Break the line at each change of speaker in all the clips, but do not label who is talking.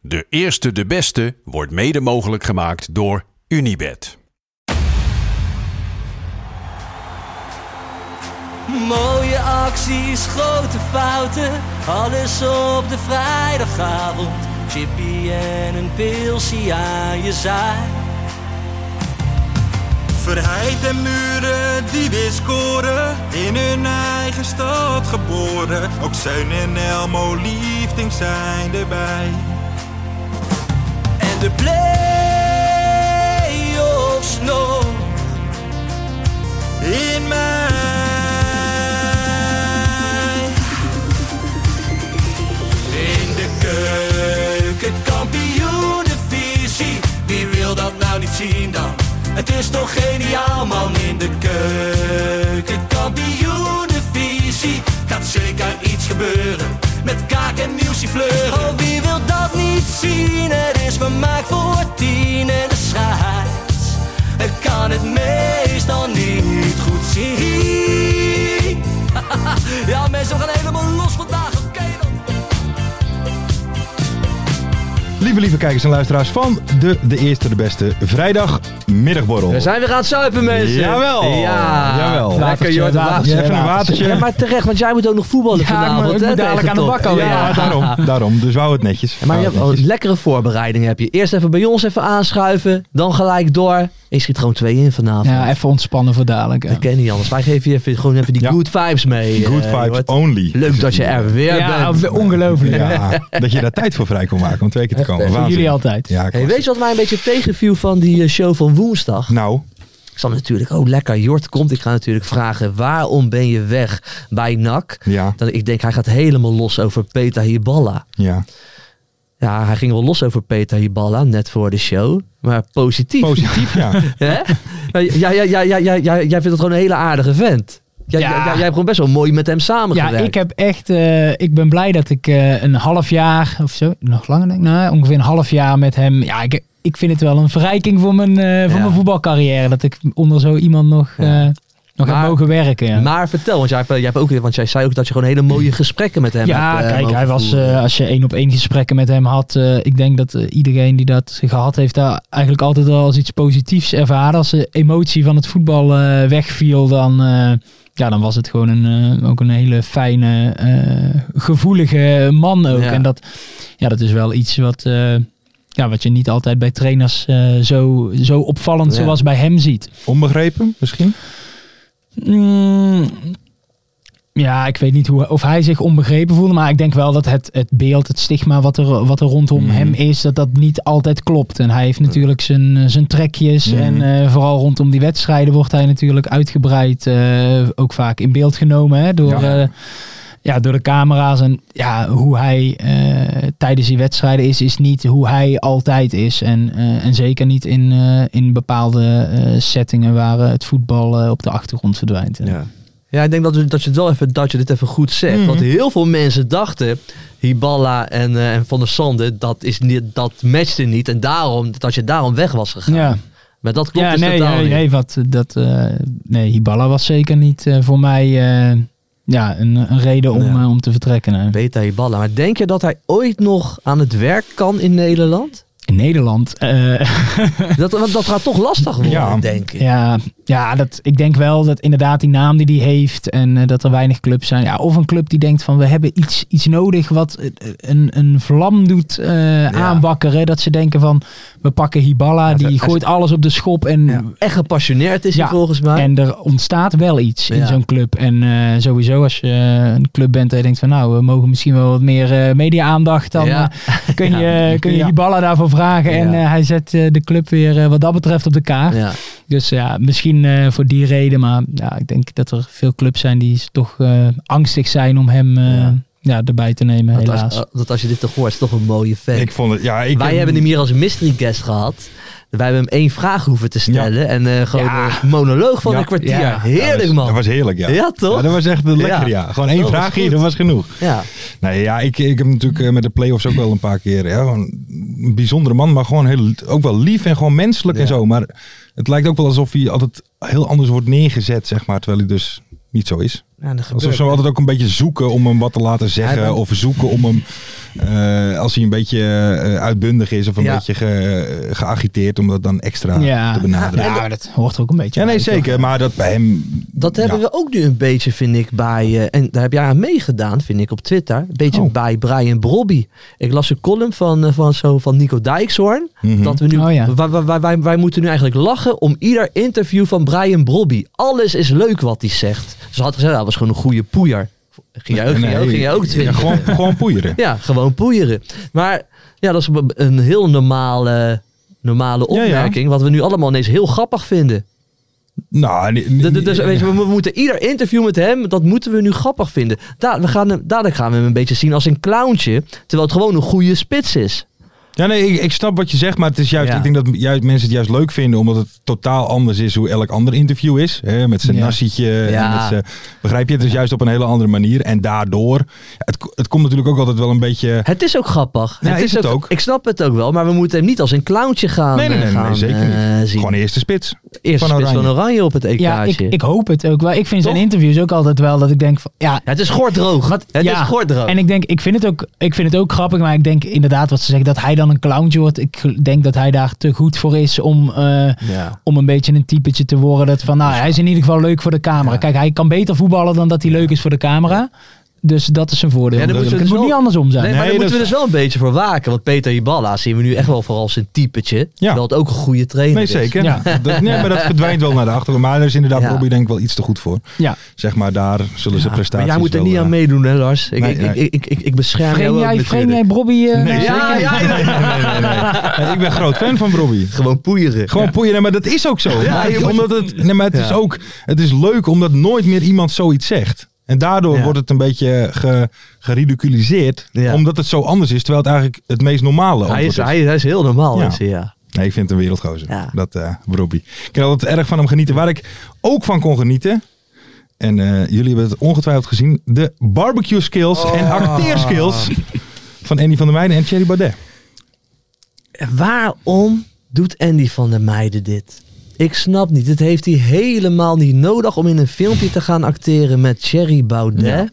De eerste, de beste wordt mede mogelijk gemaakt door Unibed.
Mooie acties, grote fouten, alles op de vrijdagavond. Chippy en een pilsie aan je zaai.
Verheid en muren die weer scoren, in hun eigen stad geboren. Ook Zijn en Elmo liefding zijn erbij.
En de play-offs nog.
In mij.
In de keuken, kampioenenvisie. Wie wil dat nou niet zien dan? Het is toch geniaal man in de keuken, kampioenenvisie. Gaat zeker iets gebeuren met kaak en nieuwsie fleuren. Oh, wie wil dat niet zien? Het is vermaakt voor tien en de scheids. Ik kan het meestal niet goed zien. ja mensen, we gaan helemaal los vandaag, oké dan.
Lieve, lieve kijkers en luisteraars van de, de Eerste, de Beste vrijdagmiddagborrel.
We zijn weer aan het zuipen, mensen.
Jawel.
Ja.
Jawel.
Lekker, joh.
Watertje,
Watertje.
watertje.
Even een watertje.
Ja, maar terecht, want jij moet ook nog voetballen
Ja, ik moet-
vanavond.
ik
hè, tegen
moet dadelijk aan de
Top.
bak alweer.
Ja, daarom, daarom. Dus wou het netjes.
Maar je
Wou
hebt
het
wel een
netjes.
lekkere voorbereiding heb je. Eerst even bij ons even aanschuiven, dan gelijk door. En je schiet gewoon twee in vanavond.
Ja, even ontspannen voor dadelijk. hè.
Dat ken je niet anders. Wij geven je even, gewoon even die
Ja.
good vibes mee.
Good
eh,
vibes
Jort.
only.
Leuk dat je er weer
Ja,
bent.
ongelooflijk.
Ja, dat je daar tijd voor vrij kon maken om twee keer te komen.
hè?
Voor
Waanzin.
jullie altijd.
Ja,
Hey,
klopt.
weet je wat mij een beetje tegenviel van die eh, show van woensdag?
Nou,
Ik zat natuurlijk, oh lekker, Jort komt. Ik ga natuurlijk vragen, waarom ben je weg bij NAC?
ja,
Dat ik denk, hij gaat helemaal los over Peter Hiballa.
ja.
Ja, hij ging wel los over Peter Hiballa, net voor de show. Maar positief.
Positief, ja.
hè? Maar j- ja, ja, ja, ja, ja, ja, jij vindt het gewoon een hele aardige vent. Jij,
Ja.
jij- jij hebt gewoon best wel mooi met hem
Ja,
samengewerkt.
ik heb echt, eh, ik ben blij dat ik eh, een half jaar of zo, nog langer denk ik, nou, ongeveer een half jaar met hem. Ja, ik, ik vind het wel een verrijking voor mijn, eh, voor
Ja.
mijn voetbalcarrière. Dat ik onder zo iemand nog,
Ja.
eh, nog heb
Maar-
mogen werken. Ja.
Maar vertel, want jij, hebt, jij, hebt ook, want jij zei ook dat je gewoon hele mooie gesprekken met hem
Ja,
hebt. eh,
kijk,
mogen
hij was,
voeren.
eh, als je één op één gesprekken met hem had, eh, ik denk dat eh, iedereen die dat gehad heeft, daar eigenlijk altijd wel als iets positiefs ervaren. Als de emotie van het voetbal eh, wegviel, dan, eh, ja, dan was het gewoon een, eh, ook een hele fijne, eh, gevoelige man ook.
Ja.
En dat, ja, dat is wel iets wat, eh, ja, wat je niet altijd bij trainers eh, zo, zo opvallend
Ja.
zoals bij hem ziet.
Onbegrepen misschien?
Mm, ja, ik weet niet hoe, of hij zich onbegrepen voelde. Maar ik denk wel dat het, het beeld, het stigma wat er, wat er rondom
Mhm.
hem is, dat dat niet altijd klopt. En hij heeft natuurlijk zijn, eh, zijn trekjes.
Mhm.
En eh, vooral rondom die wedstrijden wordt hij natuurlijk uitgebreid eh, ook vaak in beeld genomen hè, door, eh,
Ja.
ja. ja, door de camera's. En ja, hoe hij eh, tijdens die wedstrijden is, is niet hoe hij altijd is. En, eh, en zeker niet in, eh, in bepaalde eh, settingen waar eh, het voetbal eh, op de achtergrond verdwijnt.
Ja. Ja, ik denk dat, we- dat, je het wel even, dat je dit even goed zegt.
Mhm.
Want heel veel mensen dachten, Hiballa en, eh, en Van der Sande, dat, is niet, dat matchte niet. En daarom, dat je daarom weg was gegaan.
Ja,
Maar dat klopt
ja
dus
nee,
totaal
nee,
niet.
nee, wat, dat, eh, nee, Hibala was zeker niet eh, voor mij eh, ja, een, een reden om,
Ja.
eh, om te vertrekken. hè.
Beta Hiballa. Maar denk je dat hij ooit nog aan het werk kan in Nederland?
In Nederland. eh,
Dat, want dat gaat toch lastig worden,
Ja.
denk ik.
ja, ja dat, ik denk wel dat inderdaad die naam die hij heeft en eh, dat er weinig clubs zijn. Ja, of een club die denkt van we hebben iets, iets nodig wat eh, een, een vlam doet eh, aanwakkeren. Dat ze denken van we pakken Hibala,
als-
die
als-
gooit alles op de schop en
Echt gepassioneerd is
Ja.
hij volgens mij.
En er ontstaat wel iets
Ja.
in zo'n club. En eh, sowieso als je eh, een club bent en je denkt van nou, we mogen misschien wel wat meer eh, media-aandacht. Dan
Ja.
eh, kun je, kun je Hiballa daarvoor vragen. En
Ja.
eh, hij zet eh, de club weer eh, wat dat betreft op de kaart.
ja.
Dus ja, misschien eh, voor die reden. Maar ja, ik denk dat er veel clubs zijn die toch eh, angstig zijn om hem eh,
Ja.
ja, erbij te nemen,
Dat als,
helaas.
oh.
eh, dat als je dit toch hoort, is toch een mooie fan.
Ik vond het, ja, ik
Wij hebben hem hier als mystery guest gehad. Wij hebben hem één vraag hoeven te stellen. En eh, gewoon
Ja.
een monoloog van
Ja.
een kwartier.
Ja.
Heerlijk,
dat was,
man.
Dat was heerlijk, ja.
Ja, toch?
Ja, dat was echt lekker, ja. Gewoon één
Dat was
vraagje,
goed.
dat was genoeg.
Ja.
Nee, ja, ik, ik heb natuurlijk eh, met de play-offs ook wel een paar keer. Ja, gewoon een bijzondere man, maar gewoon heel, ook wel lief en gewoon menselijk en
Ja.
zo. Maar het lijkt ook wel alsof hij altijd heel anders wordt neergezet, zeg maar. Terwijl hij dus niet zo is.
Ja, dat
Alsof
gebeurt.
ze hem altijd ook een beetje zoeken om hem wat te laten zeggen.
Hij-
Of zoeken om hem, eh, als hij een beetje eh, uitbundig is of een
Ja.
beetje ge- geagiteerd, om dat dan extra
ja.
Ah, te benaderen.
ja, maar dat hoort er ook een beetje
Ja, nee,
bij, toch?
zeker. Maar dat bij hem...
Dat hebben
ja.
we ook nu een beetje, vind ik, bij... eh, en daar heb jij aan meegedaan, vind ik, op Twitter. Een beetje
Oh.
bij Brian Brobby. Ik las een column van, eh, van, zo, van Nico Dijkshoorn.
Mhm.
Dat we nu,
Oh, ja.
wij, wij- wij, wij, wij moeten nu eigenlijk lachen om ieder interview van Brian Brobby. Alles is leuk wat hij zegt. Ze had gezegd, dat was gewoon een goede poeier. Ging jij ook, ging jij ook, ging jij ook
Ja,
twitteren?
gewoon, gewoon poeieren.
Ja, gewoon poeieren. Maar ja, dat is een- een heel normale, normale
Ja, ja.
opmerking. Wat we nu allemaal ineens heel grappig vinden.
Nou, nee, nee,
D- d- Dus weet je, we, we moeten ieder interview met hem, dat moeten we nu grappig vinden. Da we gaan, hem- dadelijk gaan we hem een beetje zien als een clowntje. Terwijl het gewoon een goede spits is.
Ja, nee, ik, ik snap wat je zegt, maar het is juist,
Ja.
ik denk dat juist, mensen het juist leuk vinden, omdat het totaal anders is hoe elk ander interview is. Hè, met zijn
Ja.
nassietje, en
Ja.
met zijn- begrijp je? Het is juist op een hele andere manier. En daardoor, het, ko- het komt natuurlijk ook altijd wel een beetje...
Het is ook grappig.
Ja,
het
is het ook.
Ik snap het ook wel, maar we moeten hem niet als een clowntje gaan,
Nee, nee,
eh,
nee, nee,
gaan,
zeker
eh,
niet.
zien.
Gewoon eerste spits.
Eerste
van
spits van
Oranje.
Oranje op het EK'tje.
Ja, ik, ik hoop het ook wel. Ik vind zijn
Toch?
interviews ook altijd wel dat ik denk van, ja,
Ja, het is gordroog. Het
ja.
is gordroog.
En ik denk, ik vind, het ook, ik vind het ook grappig, maar ik denk inderdaad wat ze zeggen, dat hij dan een clowntje wordt. Ik gel- denk dat hij daar te goed voor is om, eh,
ja.
om een beetje een typetje te worden. Dat van, nou, hij is in ieder geval leuk voor de camera. Kijk, hij kan beter voetballen dan dat hij leuk is voor de camera. Dus dat is een voordeel.
Ja, dan moeten we dus
het moet
wel-
niet andersom zijn.
Nee, maar daar
Nee,
moeten we
dat-
dus wel een beetje voor waken. Want Peter Iballa zien we nu echt wel vooral zijn typetje. Terwijl het ook een goede trainer
Nee,
is.
zeker.
Ja.
Dat, nee, maar dat verdwijnt wel naar de achtergrond. Maar daar is inderdaad
Ja.
Bobby denk ik wel iets te goed voor.
Ja.
Zeg maar, daar zullen ze prestaties
Maar jij moet er
wel,
niet aan
eh,
meedoen, hè, Lars? Ik,
Nee,
ik,
nee.
ik, ik, ik, ik bescherm jou
Vreem
ook
jij, vreem
natuurlijk.
jij Bobby? eh,
Nee,
nou?
ja, ja, ja, ja.
Nee, ik ben groot fan van Bobby.
Gewoon poeieren.
Gewoon poeien, nee, maar dat is ook zo.
Ja,
Maar
je moet-
omdat het, nee, maar het
Ja.
is ook, het is leuk omdat nooit meer iemand zoiets zegt. En daardoor
Ja.
wordt het een beetje ge, geridiculiseerd,
Ja.
omdat het zo anders is, terwijl het eigenlijk het meest normale
Hij
antwoord
is,
is.
hij, hij is heel normaal.
Ja.
is hij, ja.
Nee, ik vind het een wereldgozer,
Ja.
dat eh Robbie. Ik kan altijd erg van hem genieten. Waar ik ook van kon genieten, en eh, jullie hebben het ongetwijfeld gezien, de barbecue skills
Oh.
en acteerskills van Andy van der Meijden en Thierry Baudet.
Waarom doet Andy van der Meijden dit? Ik snap niet. Dit heeft hij helemaal niet nodig om in een filmpje te gaan acteren met Thierry Baudet.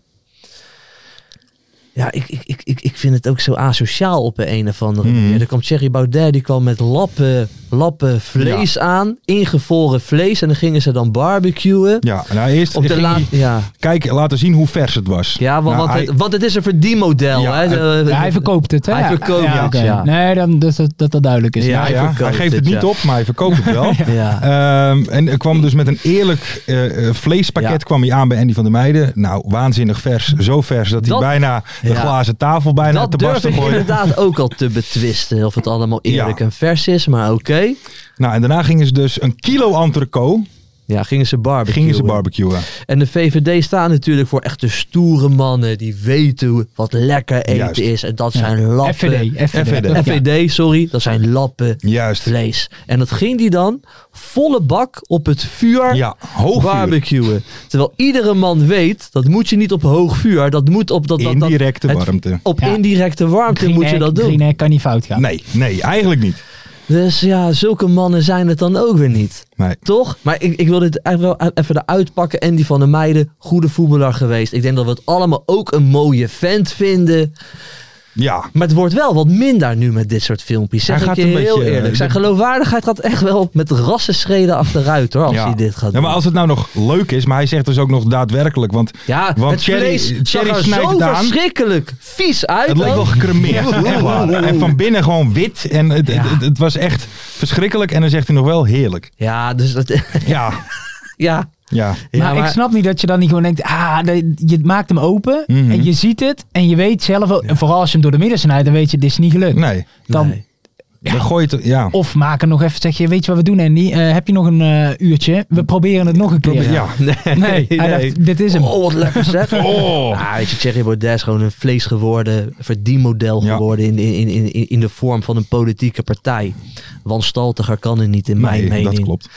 Ja, ik, ik, ik, ik, ik vind het ook zo asociaal op de een of andere
Mhm.
manier. Er kwam Thierry Baudet, die kwam met lappen, lappen vlees aan. Ingevroren vlees. En dan gingen ze dan barbecuen.
Ja, nou eerst
Op de
ging
la-
hij-
ja.
kijk, laten zien hoe vers het was.
Ja, want,
Nou,
want,
hij-
het, want het is een verdienmodel.
Ja,
hè?
het-
De-
Ja, hij verkoopt het, hè?
Hij verkoopt het,
oké.
ja.
Nee, dan, dus dat, dat dat duidelijk is.
Ja,
Ja,
Ja,
hij
Ah, ja, hij
verkoopt
geeft
het,
het niet
ja.
op, maar hij verkoopt het wel.
Ja.
Ehm, en er kwam dus met een eerlijk eh, eh, vleespakket
Ja.
kwam hij aan bij Andy van der Meijden. Nou, waanzinnig vers. Zo vers dat,
Dat-
hij bijna de
Ja.
glazen tafel bijna te
Dat durf
barsten
ik
gooide.
inderdaad ook al te betwisten. Of het allemaal eerlijk
Ja.
en vers is, maar oké.
Nou, en daarna gingen ze dus een kilo entreco
Ja, gingen ze barbecuen.
gingen ze barbecuen.
En de VVD staan natuurlijk voor echte stoere mannen. Die weten hoe- wat lekker eten
Juist.
is. En dat zijn lappen.
FVD.
FVD.
Ja.
FVD, sorry. Dat zijn lappen
Juist.
vlees. En dat ging die dan volle bak op het vuur
Ja, hoog vuur.
barbecuen. Terwijl iedere man weet, dat moet je niet op hoog vuur. Dat moet op dat, dat, dat-
Indirecte
het-
warmte.
Op
Ja.
indirecte warmte
Green
moet je
egg-
dat doen.
Green egg kan niet fout gaan.
Nee, nee, eigenlijk niet.
Dus ja, zulke mannen zijn het dan ook weer niet.
Nee.
Toch? Maar ik, ik wil dit eigenlijk wel e- even eruit pakken. Andy van der Meijden, goede voetballer geweest. Ik denk dat we het allemaal ook een mooie vent vinden.
Ja.
Maar het wordt wel wat minder nu met dit soort filmpjes. Zeg
Hij
ik
gaat
je
een
heel
beetje, eh,
eerlijk. Zijn
de-
geloofwaardigheid gaat echt wel met rassenschreden achteruit hoor. Als
ja.
hij dit gaat
ja,
doen.
maar als het nou nog leuk is, maar hij zegt dus ook nog daadwerkelijk, want
Ja,
Want
het
Thierry-
vlees
Thierry
zag er
snijdt
zo
het aan.
verschrikkelijk vies uit.
Het leek
ook.
wel gecremeerd. echt waar. En van binnen gewoon wit. En het, het, het, het was echt verschrikkelijk. En dan zegt hij nog wel heerlijk.
Ja, Nou, dus dat...
Ja,
Ja.
ja.
Ja,
maar, ik snap niet dat je dan niet gewoon denkt, ah, de- je maakt hem open
Mhm.
en je ziet het en je weet zelf, wel- en vooral als je hem door de midden snijdt, dan weet je, dit is niet gelukt.
Nee.
Dan,
Nee.
Dan gooi je het, ja.
Of maken nog even, zeg je, weet je wat we doen Andy? Eh, heb je nog een eh, uurtje? We proberen het nog een keer.
Probeer- ja.
Nee,
Nee, hij dacht, dit is hem.
Oh, wat lekker zeg. oh. Ah, weet je, Thierry Baudet is gewoon een vlees geworden, verdienmodel
Ja.
geworden in, in, in, in- in de vorm van een politieke partij. Wanstaltiger kan het niet in mijn
Nee,
mening.
dat klopt.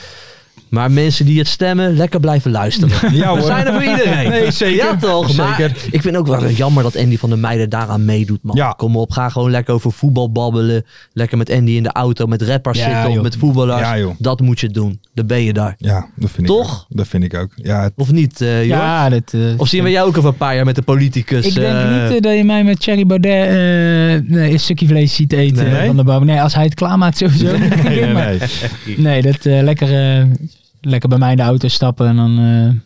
Maar mensen die het stemmen, lekker blijven luisteren.
Ja,
We
hoor.
zijn er voor iedereen.
Nee, zeker.
Ja toch, maar
Zeker.
ik vind ook wel jammer dat Andy van der Meijden daaraan meedoet man.
Ja.
Kom op, ga gewoon lekker over voetbal babbelen. Lekker met Andy in de auto, met rappers
Ja,
zitten of
joh.
met voetballers.
Ja, joh.
dat moet je doen. Dan ben je daar.
Ja, dat vind ik
Toch?
ook. Dat vind ik ook. Ja, het-
Of niet, eh joh?
Ja, dat, eh,
Of zien we jou ook over een paar jaar met de politicus?
Ik denk
eh,
niet eh, dat je mij met Thierry Baudet eh, nee, een stukje vlees ziet eten
Nee?
eh, van de boom. Nee, als hij het klaarmaakt sowieso. niet, denk ik,
nee,
maar-
nee.
Nee, dat eh, lekker, eh, lekker bij mij in de auto stappen en dan eh,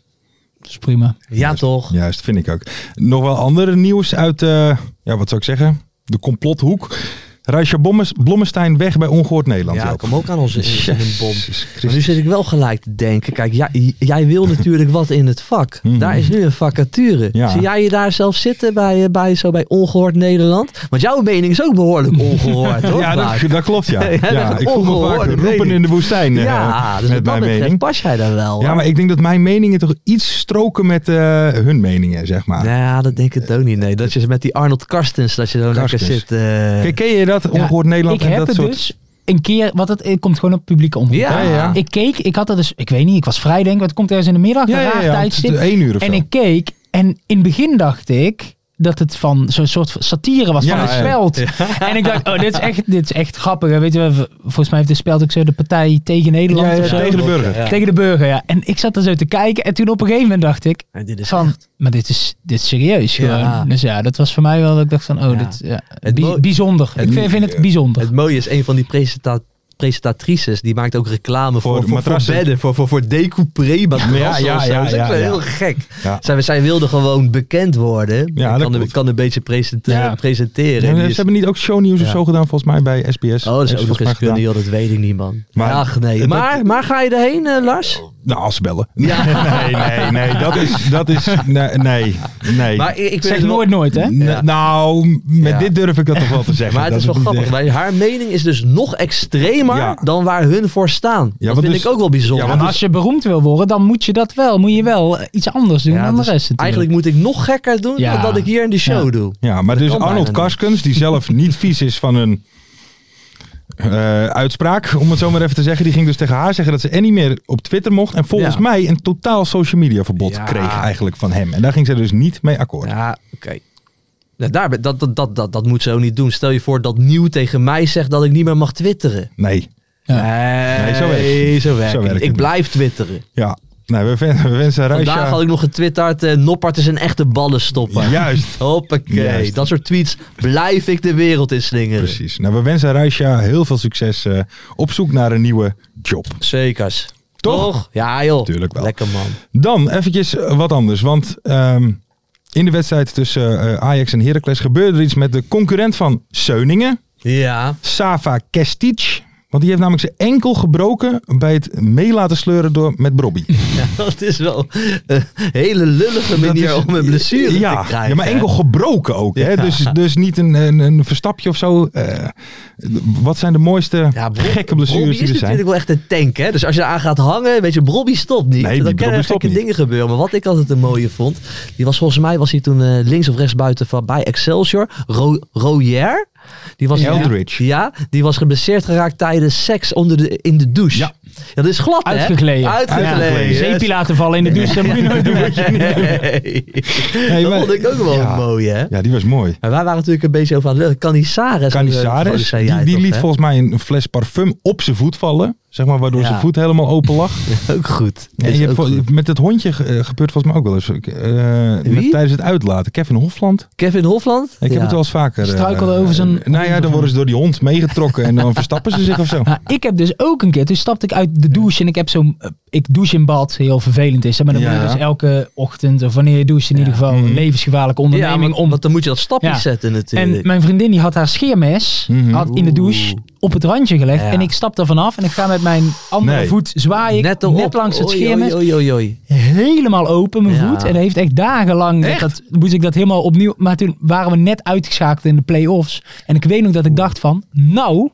dat is prima.
Ja, toch?
Juist, vind ik ook. Nog wel andere nieuws uit, eh, ja, wat zou ik zeggen? De complothoek. Raja Blommestein weg bij Ongehoord Nederland.
Ja,
Joop.
ik kom ook aan onze in, in een bom.
Jezus
Maar nu
Christus.
zit ik wel gelijk te denken. Kijk, jij, jij wil natuurlijk wat in het vak.
Mhm.
Daar is nu een vacature.
Ja.
Zie jij je daar zelf zitten bij, eh, bij, zo bij Ongehoord Nederland? Want jouw mening is ook behoorlijk ongehoord, hoor.
Ja,
vaak.
dat, dat klopt, ja.
Ja,
ja,
dat is
ik voel me vaak
ongehoord, weet
roepen
ik.
in de woestijn eh,
ja, dus
met
met dat
mijn
betreft
mening.
pas jij daar wel.
Ja,
hoor.
maar ik denk dat mijn meningen toch iets stroken met eh, hun meningen, zeg maar.
Nou ja, dat denk ik ook niet. Nee, dat je met die Arnold Karstens, dat je zo lekker
Karstens.
zit. eh,
Ken, ken je dat, Ongehoord
Ja,
Nederland
Ik
en
heb
dat
het
soort...
dus een keer, want het, eh, komt gewoon op publieke omroep.
Ja,
hè?
ja.
Ik keek, ik had dat dus, ik weet niet, ik was vrij denk ik, want het komt ergens in de middag, een raar tijdstip.
Het is één uur of zo.
En ik keek en in het begin dacht ik dat het van zo'n soort van satire was
Ja,
van de
ja.
speld. En ik dacht, oh, dit is echt, dit is echt grappig. hè. Weet je, wel, v- volgens mij heeft de speld ook zo de partij tegen Nederland
Ja, ja,
of zo.
tegen de burger.
Ja.
Tegen de burger, ja. En ik zat er zo te kijken en toen op een gegeven moment dacht ik
en dit is
van, maar dit is, dit is serieus
Ja.
gewoon. Dus ja, dat was voor mij wel dat ik dacht van, oh,
Ja.
dit ja,
Het
bi-
mo-
bijzonder. ik vind, vind het bijzonder.
Het mooie is, een van die presenta- presentatrices, die maakt ook reclame voor,
Voor
voor, voor,
matrassen.
bedden, voor, voor, voor decoupré matrassen
Ja, ja,
of zo.
ja,
dat is
ja,
echt wel
ja.
heel gek.
Ja.
Zij, zij wilde gewoon bekend worden.
Ja,
Ja,
dat
kan, een,
klopt.
kan een beetje presente-
Ja.
Ja,
presenteren.
maar
Die
ze
is-
hebben niet ook shownieuws of
Ja.
zo gedaan, volgens mij, bij SBS.
Oh, dat
Heeft
is
ze
ook
volgens mij
nog kunnen,
gedaan.
joh, dat weet ik niet, man.
Maar-
Ach, nee.
Dat-
Maar, maar ga je erheen, eh, Lars?
Nou, als ze bellen. Nee, nee, nee. Dat is... Dat is nee, nee. nee.
Maar ik, ik vind
zeg
het wel-
nooit nooit, hè?
N-
Ja.
Nou, met
Ja.
dit durf ik dat toch wel te zeggen.
Maar het
Dat
is wel
niet
grappig.
echt-
maar haar mening is dus nog extremer
Ja.
dan waar hun voor staan.
Ja,
dat
want
vind
dus-
ik ook wel bijzonder.
Ja,
En
want
als je beroemd wil worden, dan moet je dat wel. Moet je wel eh, iets anders doen
Ja,
dan
dus
de rest natuurlijk.
Eigenlijk moet ik nog gekker doen
Ja.
dan dat ik hier in de show
Ja.
doe.
Ja, maar
Dat
dus
kan
Arnold
bijna niet.
Karskens, die zelf niet vies is van een eh, uitspraak, om het zo maar even te zeggen, die ging dus tegen haar zeggen dat ze en niet meer op Twitter mocht en volgens
Ja.
mij een totaal social media verbod
Ja.
kreeg eigenlijk van hem. En daar ging ze dus niet mee akkoord.
Ja, oké. Nou, daar, ben- dat, dat, dat, dat, dat moet zo niet doen. Stel je voor dat Nieuw tegen mij zegt dat ik niet meer mag twitteren.
Nee,
Nee,
zo werkt het
nee,
niet.
zo werkt
Zo werkt
het niet.
het
Ik blijf twitteren.
ja. Nee, we, ven- we wensen
Vandaag had
Raja...
ik nog getwitterd, eh Noppert is een echte ballenstopper.
Juist,
Hoppakee.
Juist.
Dat soort tweets blijf ik de wereld in slingeren.
precies. Nou, we wensen Raja heel veel succes eh, op zoek naar een nieuwe job.
Zekers.
Toch?
Ja joh.
Tuurlijk wel.
Lekker man.
Dan eventjes eh, wat anders, want ehm, in de wedstrijd tussen eh, Ajax en Heracles gebeurde er iets met de concurrent van Seuningen.
Ja.
Sava Kestic. Want die heeft namelijk zijn enkel gebroken bij het mee laten sleuren door, met Brobby.
Dat is wel een hele lullige
Dat
manier
is-
om een blessure
ja,
te krijgen.
Ja, maar enkel
hè?
gebroken ook. Hè? Dus, dus niet een, een, een verstapje of zo. Eh, wat zijn de mooiste
Ja, Bro-
gekke
Robbie
blessures die
is
er zijn?
natuurlijk wel echt een tank, hè? Dus als je aan gaat hangen, weet je, Bobby stopt niet.
Nee, die
dan
Bobby
kunnen er
stopt
gekke
niet.
dingen gebeuren. Maar wat ik altijd een mooie vond, die was volgens mij was hij toen eh, links of rechts buiten van bij Excelsior, Ro Royer. Die was
Eldridge.
Ja, die was geblesseerd geraakt tijdens seks onder de, in de douche.
Ja.
dat is glad, hè?
Uitgegleden.
Uitgegleden.
Ja. Zeepie laten vallen in de douche, dat moet je nooit doen.
Nee. dat
maar-
vond ik ook wel
Ja.
mooi, hè?
Ja, die was mooi.
Maar wij waren natuurlijk een beetje over aan het lullen. Canizares.
Canizares,
eh, zei
die,
jij
die
toch,
liet
hè?
volgens mij een fles parfum op zijn voet vallen. Zeg maar, waardoor
Ja.
zijn voet helemaal open lag.
Ook goed.
En
Is
je hebt
ook
vol-
goed.
met het hondje ge- eh, gebeurt volgens mij ook wel eens. Ik, eh,
Wie?
met- tijdens het uitlaten. Kevin Hofland.
Kevin Hofland?
Ik
Ja.
heb het wel eens vaker. eh,
Struikelde over zijn-
eh, Nou ja, dan worden ze door die hond meegetrokken en dan verstappen ze zich of zo.
Nou, ik heb dus ook een keer, toen stapte ik uit de douche en ik heb zo'n, eh, ik douche in bad, heel vervelend is. hè, Maar dan moet
Ja.
je dus elke ochtend, of wanneer je doucht in ieder geval, een levensgevaarlijke
Mhm. Ja,
onderneming
want,
om.
want dan moet je dat stapje
Ja.
zetten natuurlijk.
En mijn vriendin die had haar scheermes,
Mhm.
had in de douche op het randje gelegd.
Ja.
En ik stap er vanaf en ik ga met mijn andere
Nee.
voet zwaaien. Net,
erop.
langs het
Oei,
scherm. is
oei, oei, oei, oei.
helemaal open, mijn
Ja.
voet. En dat heeft echt dagenlang.
Echt?
Dat, moest ik dat helemaal opnieuw. Maar toen waren we net uitgeschakeld in de play-offs. En ik weet nog dat ik dacht van. Nou,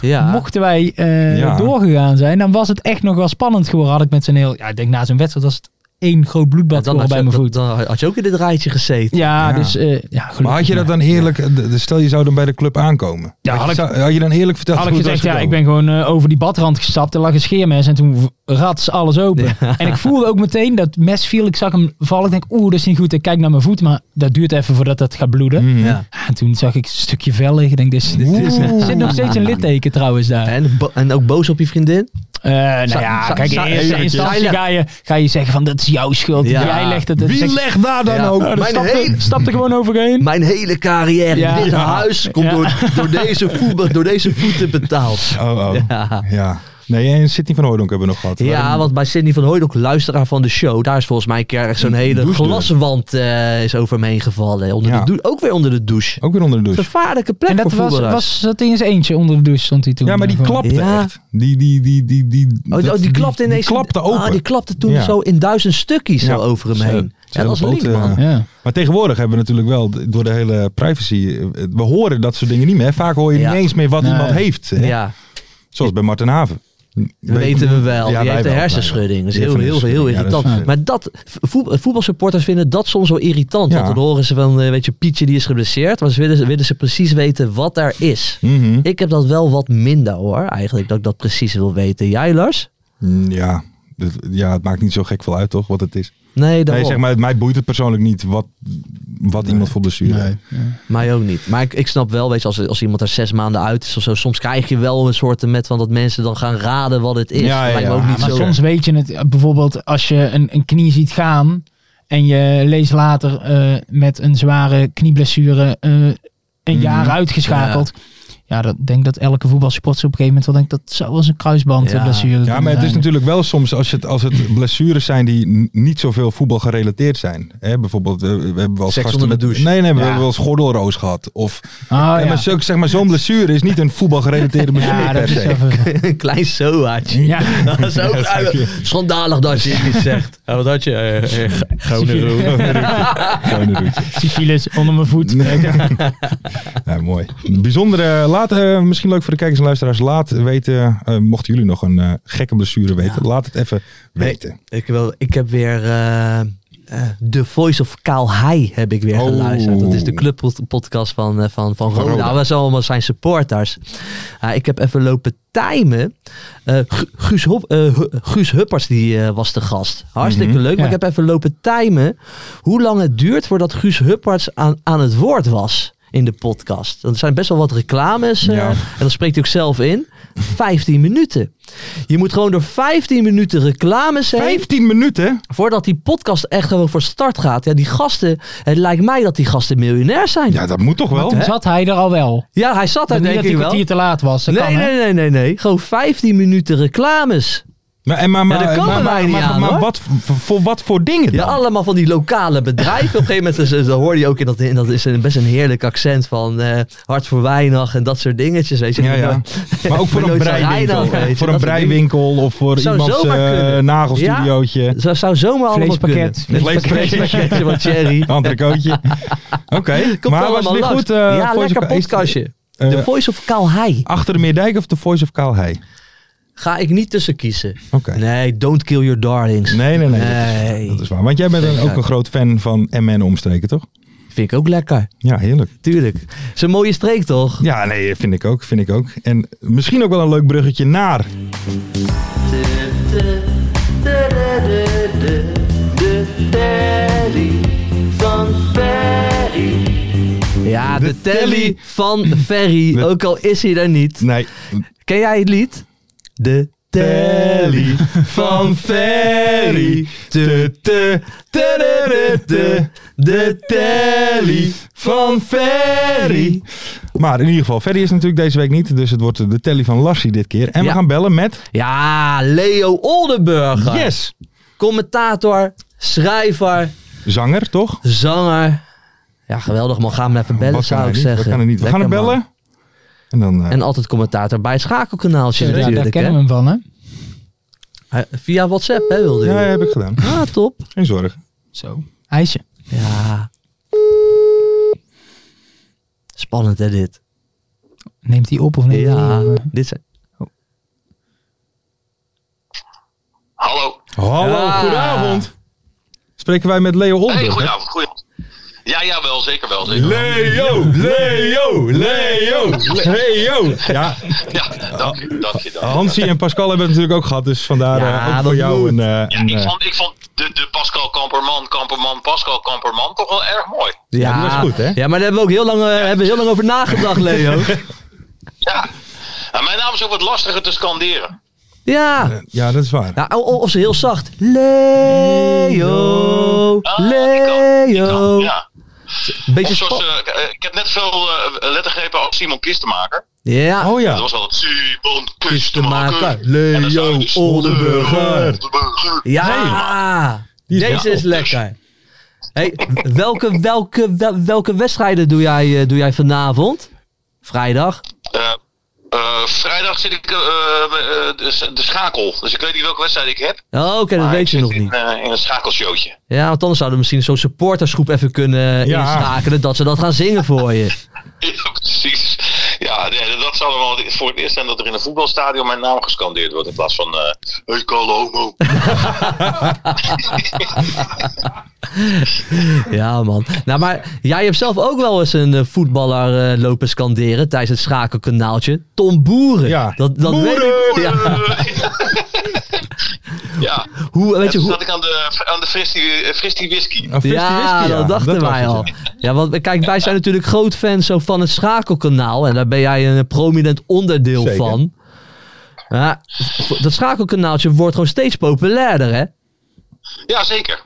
Ja.
mochten wij eh,
Ja.
doorgegaan zijn, dan was het echt nog wel spannend geworden. Had ik met zijn heel. Ja, ik denk na zo'n wedstrijd was het één groot
Ja,
bloedbad
dan,
geworden
had
bij
je,
mijn
dan,
voet.
dan had je ook in dit rijtje gezeten.
ja,
Ja.
dus. eh, ja, gelukkig
Maar had je dat
maar.
dan eerlijk, d- d- stel je zou dan bij de club aankomen.
Ja, had
had, je,
ik-
zou- had je dan eerlijk verteld
Had ik
hoe het
gezegd,
was
ja, ik
gekomen?
ben gewoon eh, over die badrand gestapt. Er lag een scheermes en toen v- rats alles open. En ik voelde ook meteen dat mes viel. Ik zag hem vallen. Ik denk, oeh, dat is niet goed. Ik kijk naar mijn voet, maar dat duurt even voordat dat gaat bloeden. Ah,
Mhm.
Ja.
En toen zag ik een stukje vel liggen. Ik Denk, dit is, Oeh. Er zit nog steeds een litteken trouwens daar.
En, bo- en ook boos op je vriendin?
Eh, nou
Zou-
ja,
zou-
kijk, in
zou-
eerste
eventjes.
instantie ga je, ga je zeggen van dat is jouw schuld.
Ja.
Jij legt het. Nou,
Wie legt daar dan
Ja.
ook?
Mijn
Stap
hele-
er, stap er gewoon overheen.
Mijn hele carrière
Ja.
in dit
Ja.
huis komt
Ja.
door, door, deze voetbal, door deze voeten betaald.
Oh, oh.
Ja.
Ja. Nee, en Sidney van Hooydonk hebben we nog gehad.
Ja,
Waarom-
want bij Sidney van Hooydonk, luisteraar van de show, daar is volgens mij een keer echt zo'n hele
dus.
douche
glaswand eh, is over me heen gevallen. Onder
Ja.
de dou- ook weer onder de douche.
Ook weer onder de douche.
Gevaarlijke plek
En dat
voor
was,
voetballers.
was, zat hij in zijn eentje onder de douche, stond hij toen.
Ja, maar die
Gewoon.
klapte
Ja.
echt. Die, die, die, die, die,
Oh, die-
dat-
oh, die klapte ineens.
Die klapte open.
Ah, die klapte toen
Ja.
zo in duizend stukjes
Ja.
zo over hem
Zo-
heen. Ja,
zo
dat was
boot,
lief,
eh,
man.
Ja.
Maar tegenwoordig hebben we natuurlijk wel, d- door de hele privacy, eh, we horen dat soort dingen niet meer. Vaak hoor je
Ja.
niet eens meer wat
Nee.
iemand heeft. hè.
Ja,
Zoals bij Martin Haven.
dat weten we wel.
Ja,
die
wij
heeft een
wel,
hersenschudding. Dat is
wij wel.
heel, heel, heel,
Ja, dat is
irritant.
waar.
maar dat, voet- voetbalsupporters vinden dat soms wel irritant.
Ja.
Want dan horen ze van, eh, weet je, Pietje die is geblesseerd. Maar ze willen, ze- willen ze precies weten wat daar is.
Mhm.
Ik heb dat wel wat minder hoor, eigenlijk, dat ik dat precies wil weten. Jij, Lars?
Mm, Ja. Dus- ja, het maakt niet zo gek veel uit toch, wat het is.
Nee, dat
Nee, zeg maar, het- mij boeit het persoonlijk niet wat, wat iemand voor blessure heeft.
mij ook niet. Maar ik, ik snap wel, weet je, als, als iemand er zes maanden uit is of zo, soms krijg je wel een soort met van dat mensen dan gaan raden wat het is.
Ja,
Dat
ja,
lijkt me
ja.
ook niet
Maar
zo.
soms weet je het eh, bijvoorbeeld als je een, een knie ziet gaan en je leest later eh, met een zware knieblessure eh,
Mhm.
een jaar uitgeschakeld. Ja, dat denk dat elke voetbalsupporter op een gegeven moment wel denkt dat zou wel eens een eh, kruisbandblessure
Ja, maar het is natuurlijk wel soms als het, als het blessures zijn die n- niet zoveel voetbal gerelateerd zijn. Hè, bijvoorbeeld, eh, we hebben wel eens
Seks
gasten
onder de
met-
douche.
Nee, nee, we
Ja.
hebben wel eens gordelroos gehad. Of,
Oh,
ja.
ja.
maar zo, zeg maar, zo'n blessure is niet een voetbalgerelateerde blessure
Ja,
per
dat is
se.
even.
een klein soaatje.
Ja.
Dat is ook schandalig dat je het niet zegt. Ja, wat had je? Eh, eh,
Syfilis-
Kleine roetje.
Syfilis onder mijn voet.
Ja, mooi. Bijzondere, laat, eh, misschien leuk voor de kijkers en luisteraars, laat weten, eh, mochten jullie nog een eh, gekke blessure weten, laat het even weten.
ik, wil, ik heb weer eh, eh, The Voice of Kaal Hai heb ik weer
Oh.
geluisterd. Dat is de clubpodcast van, eh, van, van Roda.
Roda.
Dat was allemaal zijn supporters. Ah, ik heb even lopen timen. Eh, Gu- Guus, Hop- eh, Hu- Guus Huppers die, eh, was de gast. Hartstikke
Mhm,
leuk. Maar
Ja.
ik heb even lopen timen hoe lang het duurt voordat Guus Huppers aan, aan het woord was in de podcast. Er zijn best wel wat reclames. eh,
Ja.
en dan spreekt hij ook zelf in. 15 minuten. Je moet gewoon door 15 minuten reclames heen.
15 minuten?
Voordat die podcast echt gewoon voor start gaat. Ja, die gasten. Het lijkt mij dat die gasten miljonair zijn. Ja,
Ja, dat moet toch wel?
Toen zat hij er al wel.
hij zat daar
Dat niet
denk ik
dat hij een
wel.
kwartier te laat was. Dat
nee,
kan, hè?
nee, nee, nee, nee. Gewoon 15 minuten reclames.
Maar, en maar, maar,
dat kan
maar,
er
maar-
mij niet
maar-
aan,
maar
hoor.
wat, voor, voor wat voor dingen
Ja,
dan?
allemaal van die lokale bedrijven. Op een gegeven moment is- dan hoor je ook in dat, in dat is een, best een heerlijk accent van eh hart voor weinig en dat soort dingetjes. Weet je.
Ja, ja. Maar ook voor
ben
een
nooit zo rijden, weet
breiwinkel.
je,
Voor
dat
een
soort
breiwinkel of voor
Zou
iemands
zomaar
eh,
kunnen.
nagelstudiootje.
Zo zou zomaar allemaal kunnen.
Vleespakket.
Vleespakket.
Vleespakketje van Thierry.
Entrecootje. Oké,
Komt
maar was
allemaal
het weer
langs.
goed? eh,
ja,
Voice of-
lekker
is-
podcastje.
eh,
The Voice of Kalhei.
Achter de Meerdijk of The Voice of Kaalhei?
Ga ik niet tussen kiezen.
Oké.
Nee, don't kill your darlings.
Nee, nee, nee. Dat,
Nee.
is, dat is waar. Want jij bent een- ook een groot fan van MN omstreken, toch?
Vind ik ook lekker.
Ja, heerlijk.
Tuurlijk. Het is een mooie streek toch?
Ja, nee, vind ik ook. Vind ik ook. En misschien ook wel een leuk bruggetje naar...
Ja, de,
De
telly,
telly.
van Ferry.
De-
Ook al is hij daar niet.
Nee,
Ken jij het lied? De telly van Ferry. De, de, de, de, de, de, de telly van Ferry.
Maar in ieder geval, Ferry is natuurlijk deze week niet. Dus het wordt de telly van Lassie dit keer. En
Ja.
we gaan bellen met...
Ja, Leo Oldenburger.
Yes!
Commentator, schrijver,
Zanger, toch?
zanger. Ja, geweldig man. Ga hem even bellen,
Wat kan
zou
hij
ik
niet? Wat
zeggen.
kan hij niet? We gaan
Lekker,
hem bellen.
man.
En dan, eh,
En altijd commentator bij het schakelkanaaltje
Ja, daar
natuurlijk.
kennen
Hè?
we hem van, hè?
Hij- Via WhatsApp hè, wilde
ja,
hij.
heb ik gedaan.
Ah, top.
Geen zorgen.
Zo. IJsje.
Ja. Spannend hè dit.
Neemt hij op of neemt hij
Ja,
niet op?
dit zijn...
Hallo.
Hallo,
Ja.
goedenavond. Spreken wij met Leo Oldenburg?
Hey,
hè?
goedenavond. goedenavond. Ja, ja, wel zeker, wel zeker.
Leo, Leo, Leo, Leo. Ja,
Ja, dank je, dank je.
Oh,
Dank je.
Hansie en Pascal hebben het natuurlijk ook gehad, dus vandaar
Ja,
eh, ook voor
dat
jou
moet.
een... eh,
Ja,
een,
ik
eh,
vond, ik vond de, de Pascal Kamperman, Kamperman, Pascal Kamperman toch wel erg mooi.
Ja, die was goed, hè?
Ja, maar daar hebben we ook heel lang, eh, hebben we heel lang over nagedacht, Leo.
Ja. Nou, mijn naam is ook wat lastiger te scanderen.
ja.
ja, dat is waar.
Nou, o- o- of ze heel zacht. Leo,
Ah, die kan, die kan,
Leo.
Ja.
Beetje
Of zoals,
spa-
eh, eh, ik heb net veel eh, lettergrepen als Simon Kistenmaker.
Ja.
Oh
Dat
ja,
was altijd Simon
Kistenmaker,
Kistenmaker. En dan zou
Leo
je dus-
Oldenburger.
Oldenburger.
Ja,
Die is
deze is lekker. Hey, welke, welke, wel- welke wedstrijden doe jij, eh, doe jij vanavond? Vrijdag?
Eh, eh, vrijdag zit ik eh, eh, de, de schakel. Dus ik weet niet welke wedstrijd ik heb.
Oh, Oké, dat
Maar
weet je
ik
nog
zit in,
niet.
eh, in een schakelshowtje.
Ja, want anders zouden we misschien zo'n supportersgroep even kunnen
Ja.
inschakelen. Dat ze dat gaan zingen voor je.
Ja, precies. Ja, nee, dat zal wel voor het eerst zijn dat er in een voetbalstadion mijn naam gescandeerd wordt. In plaats van. eh hey, Carlo Homo.
Ja, man. Nou, maar jij hebt zelf ook wel eens een eh, voetballer eh, lopen scanderen tijdens het schakelkanaaltje. Tom Boeren.
Ja.
Dat, dat weet ik. Ja.
ja,
Hoe, weet je,
toen
hoe,
zat ik aan de, aan de Fristie, eh, Fristie Whisky.
een fristie
ja,
whisky, ja.
dat dachten
was
wij
het,
al.
ja.
Ja, want kijk, wij zijn natuurlijk groot fans zo van het schakelkanaal. En daar ben jij een eh, prominent onderdeel
Zeker.
van. Ja, dat schakelkanaaltje wordt gewoon steeds populairder, hè?
Ja, zeker.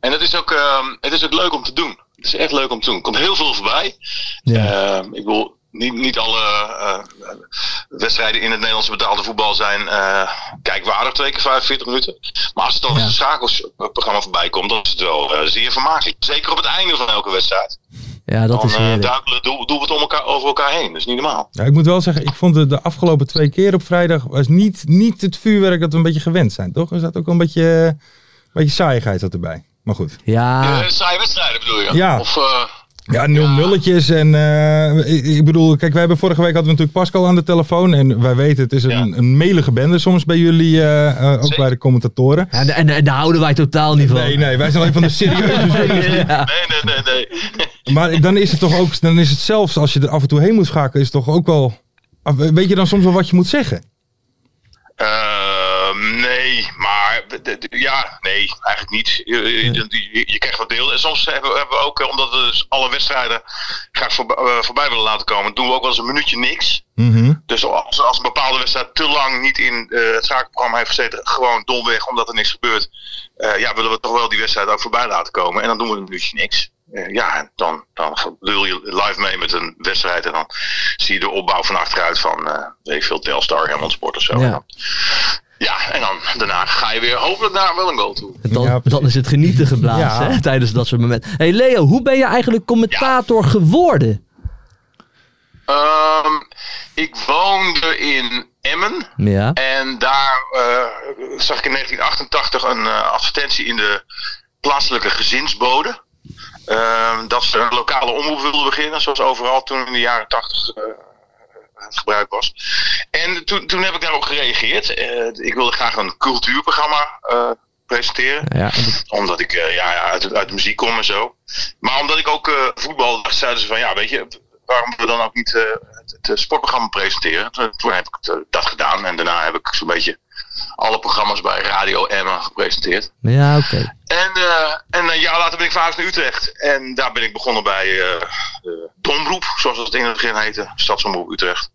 En het is, ook, ehm, het is ook leuk om te doen. Het is echt leuk om te doen. Er komt heel veel voorbij. Ehm, ik bedoel, niet, niet alle eh, eh, wedstrijden in het Nederlandse betaalde voetbal zijn eh kijkwaardig, twee keer 45 minuten. Maar als het dan als een schakelsprogramma voorbij komt, dan is het wel eh, zeer vermakelijk. Zeker op het einde van elke wedstrijd.
Ja, dat
dan
is
eh,
heerlijk.
duikelen doe, doe het om elkaar, over elkaar heen. Dat is niet normaal.
Ja, ik moet wel zeggen, ik vond de, de afgelopen twee keer op vrijdag was niet, niet het vuurwerk dat we een beetje gewend zijn, toch? Er zat ook wel een beetje, eh, een beetje saaiigheid zat erbij. Maar goed.
Ja,
Eh, saaie wedstrijden bedoel je?
Ja.
Of, eh,
Ja, nul nulletjes en eh, ik, ik bedoel, kijk, wij hebben vorige week hadden we natuurlijk Pascal aan de telefoon en wij weten het is een,
Ja.
een melige bende soms bij jullie, eh, eh, ook
Zeker.
bij de commentatoren.
en, en, en daar houden wij totaal niet van.
Nee, nee, wij zijn alleen van de serieuze journalisten.
Ja.
nee, nee, nee, nee.
Maar dan is het toch ook, dan is het zelfs als je er af en toe heen moet schakelen, is het toch ook wel, af- weet je dan soms wel wat je moet zeggen?
Ehm, nee, maar d- d- ja, nee, eigenlijk niet. Je, je- je- je krijgt wat deel. En soms hebben, hebben we ook, eh, omdat we dus alle wedstrijden graag voorbij, eh, voorbij willen laten komen, doen we ook wel eens een minuutje niks. Dus als, als een bepaalde wedstrijd te lang niet in eh, het zakenprogramma heeft gezeten, gewoon domweg omdat er niks gebeurt, eh, ja, willen we toch wel die wedstrijd ook voorbij laten komen. En dan doen we een minuutje niks. Eh, ja, en dan, dan lul je live mee met een wedstrijd en dan zie je de opbouw van achteruit van, eh weet ik veel, Telstar, Helmond Sport of zo.
Ja.
En dan- ja, en dan daarna ga je weer hopelijk naar wel een goal toe.
Dan,
Ja, precies.
dan is het genieten geblazen
Ja.
hè, tijdens dat soort momenten. hey Leo, hoe ben je eigenlijk commentator geworden?
Ehm, ik woonde in Emmen.
Ja.
En daar eh, zag ik in 1988 een eh, advertentie in de plaatselijke gezinsbode. Ehm, dat ze een lokale omroep wilden beginnen, zoals overal toen in de jaren 80 eh, het gebruik was. En toen, toen heb ik daarop gereageerd. Eh, ik wilde graag een cultuurprogramma eh, presenteren.
Ja, en
Omdat ik eh, ja, ja, uit, uit de muziek kom en zo. Maar omdat ik ook eh, voetbal dacht, zeiden ze van ja, weet je, waarom we dan ook niet eh, het, het sportprogramma presenteren? Toen, toen heb ik het, eh, dat gedaan en daarna heb ik zo'n beetje alle programma's bij Radio Emma gepresenteerd.
ja oké.
En, eh, en een jaar later ben ik verhuisd naar Utrecht. En daar ben ik begonnen bij eh, eh, Domroep, zoals dat in het begin heette, Stadsomroep Utrecht.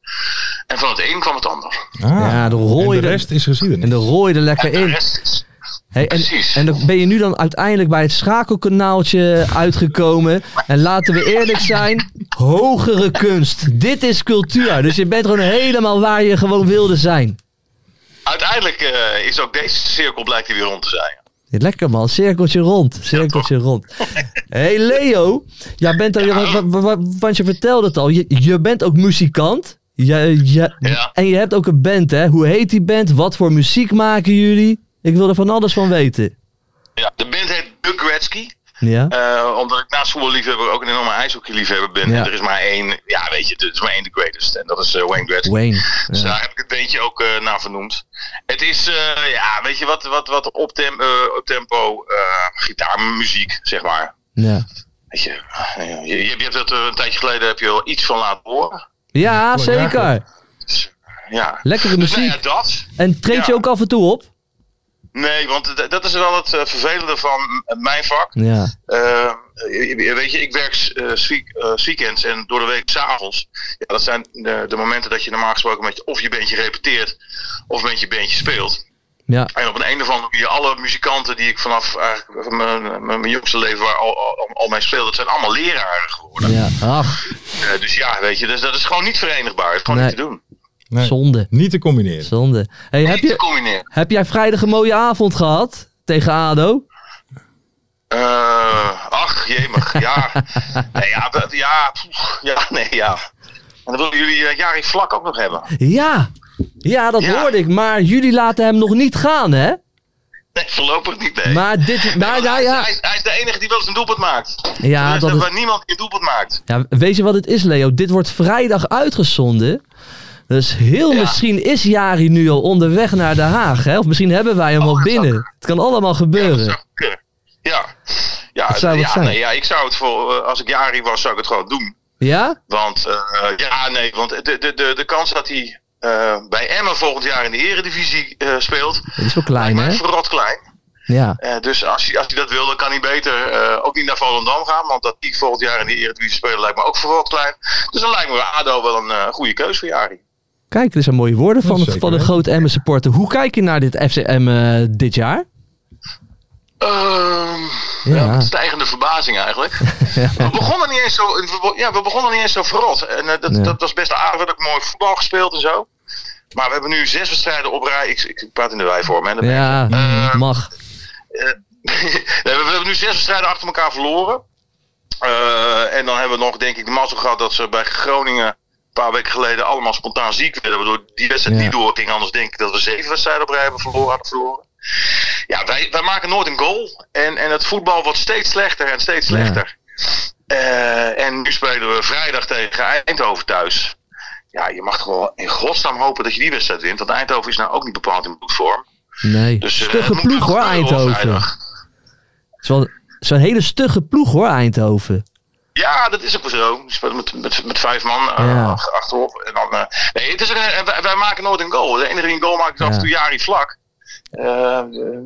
En van het een kwam het ander.
Ah,
Ja, dan rol je
en de
er-
rest is geschiedenis.
En dan rooi je er lekker
De
in.
rest is-
Hey, en,
Precies.
en dan ben je nu dan uiteindelijk bij het schakelkanaaltje uitgekomen. En laten we eerlijk zijn, hogere kunst. Dit is cultuur. Dus je bent gewoon helemaal waar je gewoon wilde zijn.
Uiteindelijk eh, is ook deze cirkel blijkt hij weer rond te zijn.
Lekker man, cirkeltje rond. Cirkeltje rond. hey Leo, jij bent al, wa- wa- wa- want je vertelde het al, je, je bent ook muzikant. Ja, ja,
Ja.
En je hebt ook een band, hè? Hoe heet die band? Wat voor muziek maken jullie? Ik wil er van alles van weten.
Ja, de band heet The Gretzky.
Ja.
Eh, omdat ik naast voetballiefhebber ook een enorme ijshockeyliefhebber ben.
Ja.
En er is maar één, ja weet je, er is maar één de greatest. En dat is eh, Wayne Gretzky.
Wayne.
Dus
Ja.
daar heb ik het beentje ook eh, naar vernoemd. Het is, eh, ja, weet je, wat, wat, wat op, tem eh, op tempo eh, gitaarmuziek, zeg maar.
Ja,
Weet je, eh, je, je hebt dat eh, een tijdje geleden heb je al iets van laten horen.
ja zeker.
Ja.
Lekkere
Dus, nou
muziek.
ja, dat.
En treed je
Ja.
ook af en toe op?
Nee, want d- dat is wel het eh, vervelende van m- mijn vak.
Ja.
Eh, je- weet je, ik werk eh, s week- eh, s weekends en door de week s'avonds. Ja, dat zijn eh, de, de momenten dat je normaal gesproken met je, of je bandje repeteert of met je bandje speelt.
Ja.
En op een, een of andere manier, alle muzikanten die ik vanaf eigenlijk van mijn, eh, mijn, mijn jongste leven waar al, al, al mee speel, dat zijn allemaal leraren geworden.
ja. Ach,
Eh, dus ja, weet je, dus dat is gewoon niet verenigbaar. Het is gewoon
Nee.
niet te doen.
Nee.
zonde.
Niet te combineren.
Zonde. Hey, heb,
niet te
je,
combineren.
heb jij vrijdag een mooie avond gehad? Tegen ADO?
Eh, ach, jemig, ja. nee, ja, dat- ja, pff, ja, nee, ja. En dan willen jullie eh, Jari Vlak ook nog hebben.
Ja. Ja, dat
Ja.
hoorde ik. Maar jullie laten hem nog niet gaan, hè?
Nee, voorlopig niet, nee.
Maar dit... Maar,
Want
ja,
hij,
ja.
Hij, is, hij is de enige die wel eens een doelpunt maakt.
Ja,
Ja,
dat
dat
is-
waar niemand een doelpunt maakt.
Ja, weet je wat het is, Leo? Dit wordt vrijdag uitgezonden. Dus heel
Ja.
misschien is Jari nu al onderweg naar Den Haag. Hè? Of misschien hebben wij hem
Oh,
al
dat zou
binnen.
kunnen.
Het kan allemaal
Ja, dat
gebeuren.
zou kunnen. Ja, ja,
Dat zou wat
ja,
zijn.
Nee, ja ik zou het voor, eh, als ik Jari was, zou ik het gewoon doen.
Ja?
Want, eh, ja, nee, want de, de, de, de kans dat hij eh, bij Emmen volgend jaar in de Eredivisie eh, speelt,
Dat is wel klein,
lijkt mij
hè?
verrot klein.
Ja.
Eh, dus als hij, als hij dat wil, dan kan hij beter eh, ook niet naar Volendam gaan. Want dat die volgend jaar in de Eredivisie spelen lijkt me ook verrot klein. Dus dan lijkt me ADO wel een eh, goede keus voor Jari.
Kijk, er zijn mooie woorden van,
Dat
het,
zeker,
van een
hè?
groot Emmen supporter. Hoe kijk je naar dit FCM eh, dit jaar?
Ehm,
Ja.
ja. met stijgende verbazing eigenlijk. We begonnen niet eens zo, we, ja, we begonnen niet eens zo verrot. En eh, dat,
Nee.
dat was best aardig. We hebben ook mooi voetbal gespeeld en zo. Maar we hebben nu zes wedstrijden op rij. Ik, ik praat in de wij voor me. Ja.
Ja,
Eh,
mag.
we hebben nu zes wedstrijden achter elkaar verloren. Eh, en dan hebben we nog, denk ik, de mazzel gehad dat ze bij Groningen een paar weken geleden allemaal spontaan ziek werden. Waardoor die wedstrijd
Ja.
niet doorging. Anders denk ik dat we zeven wedstrijden op rij hebben verloren, hadden verloren. Ja, wij, wij maken nooit een goal. En, en het voetbal wordt steeds slechter en steeds
Ja.
slechter. Eh, en nu spelen we vrijdag tegen Eindhoven thuis. Ja, je mag toch wel in godsnaam hopen dat je die wedstrijd wint. Want Eindhoven is nou ook niet bepaald in bloedvorm.
Nee.
Dus, eh, het
stugge
moet wel
ploeg hoor,
gebeuren op
Eindhoven.
vrijdag.
Het is wel- het is wel een hele stugge ploeg hoor, Eindhoven.
Ja, dat is ook wel zo. Je speelt met, met, met vijf man eh,
Ja.
ach- achterop. En dan, eh, nee, het is een, eh, wij, wij maken nooit een goal. De enige die een goal maakt is af
Ja.
en toe Jari Vlak. Eh,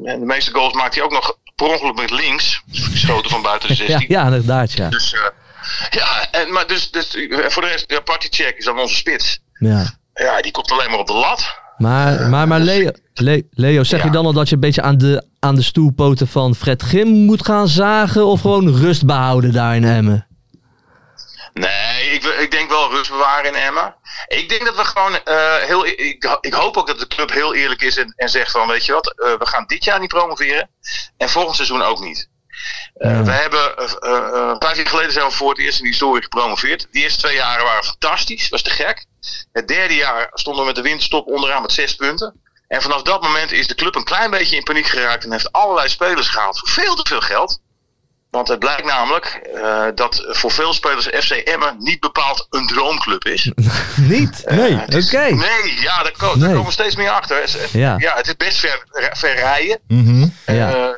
en de meeste goals maakt hij ook nog per ongeluk met links. Geschoten van buiten de 16.
Ja, ja inderdaad, ja.
Dus, eh, ja en, maar dus, dus, eh, voor de rest, ja, Partycheck is dan onze spits.
ja.
Ja, die komt alleen maar op de lat.
Maar, maar, maar Leo, Le- Leo, zeg je
Ja.
dan al dat je een beetje aan de, aan de stoelpoten van Fred Grim moet gaan zagen? Of gewoon rust behouden daar in Emmen?
Nee, ik, ik denk wel rust bewaren in Emmen. Ik denk dat we gewoon eh, heel. Ik, ik hoop ook dat de club heel eerlijk is en, en zegt van weet je wat, eh, we gaan dit jaar niet promoveren. En volgend seizoen ook niet. Eh,
Ja.
We hebben eh, eh, eh, vijf jaar geleden zijn we voor het eerst in de historie gepromoveerd. De eerste twee jaren waren fantastisch, was te gek. Het derde jaar stonden we met de winterstop onderaan met zes punten. En vanaf dat moment is de club een klein beetje in paniek geraakt en heeft allerlei spelers gehaald voor veel te veel geld. Want het blijkt namelijk eh, dat voor veel spelers FC Emmen niet bepaald een droomclub is.
Niet?
Nee.
Oké.
Nee, ja, daar, ko- daar
Nee.
komen we steeds meer achter. Het is-
Ja.
Ja. het is best ver, ver rijden.
Mhm.
Ja.
Eh, eh,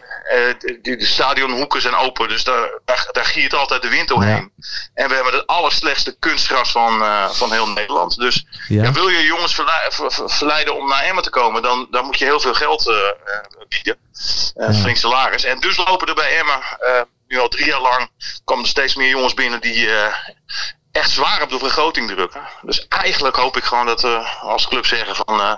de, de stadionhoeken zijn open, dus daar, daar, daar giert altijd de wind omheen. En we hebben het allerslechtste kunstgras van, eh, van heel Nederland. Dus
Ja.
ja, wil je jongens verlei- ver- ver- verleiden om naar Emmen te komen, dan, dan moet je heel veel geld eh, eh, bieden. Eh, Flink salaris. En dus lopen er bij Emmen, eh, nu al drie jaar lang, komen er steeds meer jongens binnen die eh, echt zwaar op de vergroting drukken. Dus eigenlijk hoop ik gewoon dat we als club zeggen van... eh,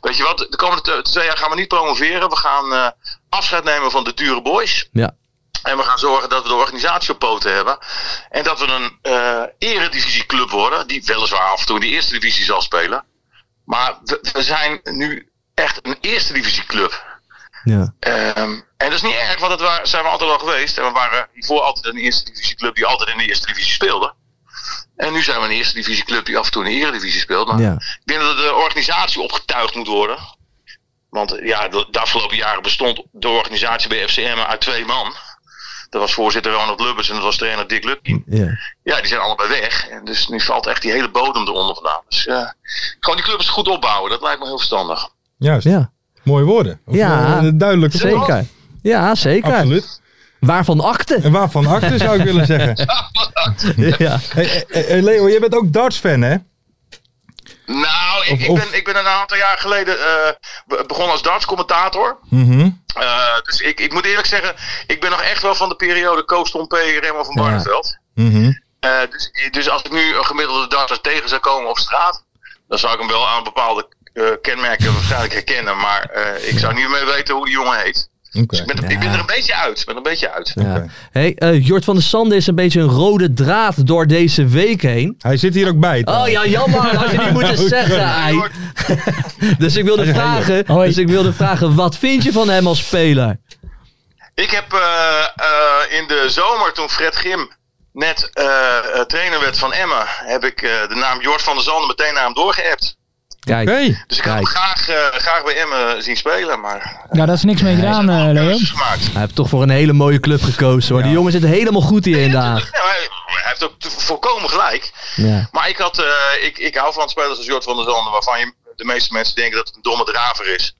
weet je wat, de komende t- twee jaar gaan we niet promoveren. We gaan eh, afscheid nemen van de dure boys.
Ja.
En we gaan zorgen dat we de organisatie op poten hebben. En dat we een eh eredivisieclub worden. Die weliswaar af en toe in de eerste divisie zal spelen. Maar we, we zijn nu echt een eerste divisieclub.
Ja.
Ehm, en dat is niet erg, want dat wa- zijn we altijd al geweest. En we waren hiervoor altijd een eerste divisieclub die altijd in de eerste divisie speelde. En nu zijn we een eerste divisieclub die af en toe in de eredivisie speelt. Maar
Ja.
ik denk dat de organisatie opgetuigd moet worden. Want eh, ja, de, de afgelopen jaren bestond de organisatie bij FCM uit twee man. Dat was voorzitter Ronald Lubbers en dat was trainer Dick Lutkin.
Ja.
Ja, die zijn allebei weg. En dus nu valt echt die hele bodem eronder vandaan. Dus eh, gewoon die club eens goed opbouwen. Dat lijkt me heel verstandig.
Juist.
ja.
Mooie woorden. Of,
Ja,
eh, duidelijk.
Zeker. Ja, zeker.
Absoluut.
Waarvan akte?
En waarvan acte zou ik willen zeggen.
Ja.
Hey, hey, hey, Leo, jij bent ook darts-fan, hè?
Nou, ik,
Of-
ik,
of-
Ben, ik ben een aantal jaar geleden eh, be- begonnen als dartscommentator.
Mhm.
Eh, dus ik, ik moet eerlijk zeggen, ik ben nog echt wel van de periode Koos P. Remo van Barneveld.
Mhm.
Eh, dus, dus als ik nu een gemiddelde darter tegen zou komen op straat, dan zou ik hem wel aan bepaalde eh, kenmerken waarschijnlijk herkennen. Maar eh, ik zou niet meer weten hoe die jongen heet. Dus
Oké.
Ik ben, er- ik ben er een beetje uit. Ik ben er een beetje uit.
Ja.
Oké.
Hey, eh, Jort van der Sande is een beetje een rode draad door deze week heen.
Hij zit hier ook bij.
Oh ja, jammer, had je niet moeten zeggen. ei. Dus ik wilde vragen,
Hoi.
dus ik wilde vragen, wat vind je van hem als speler?
Ik heb eh, eh, in de zomer, toen Fred Grim net eh, eh, trainer werd van Emmen, heb ik eh, de naam Jort van der Zanden meteen naar hem doorgeappt.
Kijk,
Oké.
Dus ik had hem
Kijk.
graag, eh, graag bij Emmen zien spelen, maar
Ja, daar is niks mee gedaan, eh, Leo.
keuzes gemaakt.
hij heeft toch voor een hele mooie club gekozen hoor. Die jongen zit helemaal goed hier in de Haag.
Nou, hij, hij heeft ook volkomen gelijk.
Ja.
Maar ik, had, eh, ik, ik hou van spelers als Jort van der Zanden, waarvan je, de meeste mensen denken dat het een domme draver is.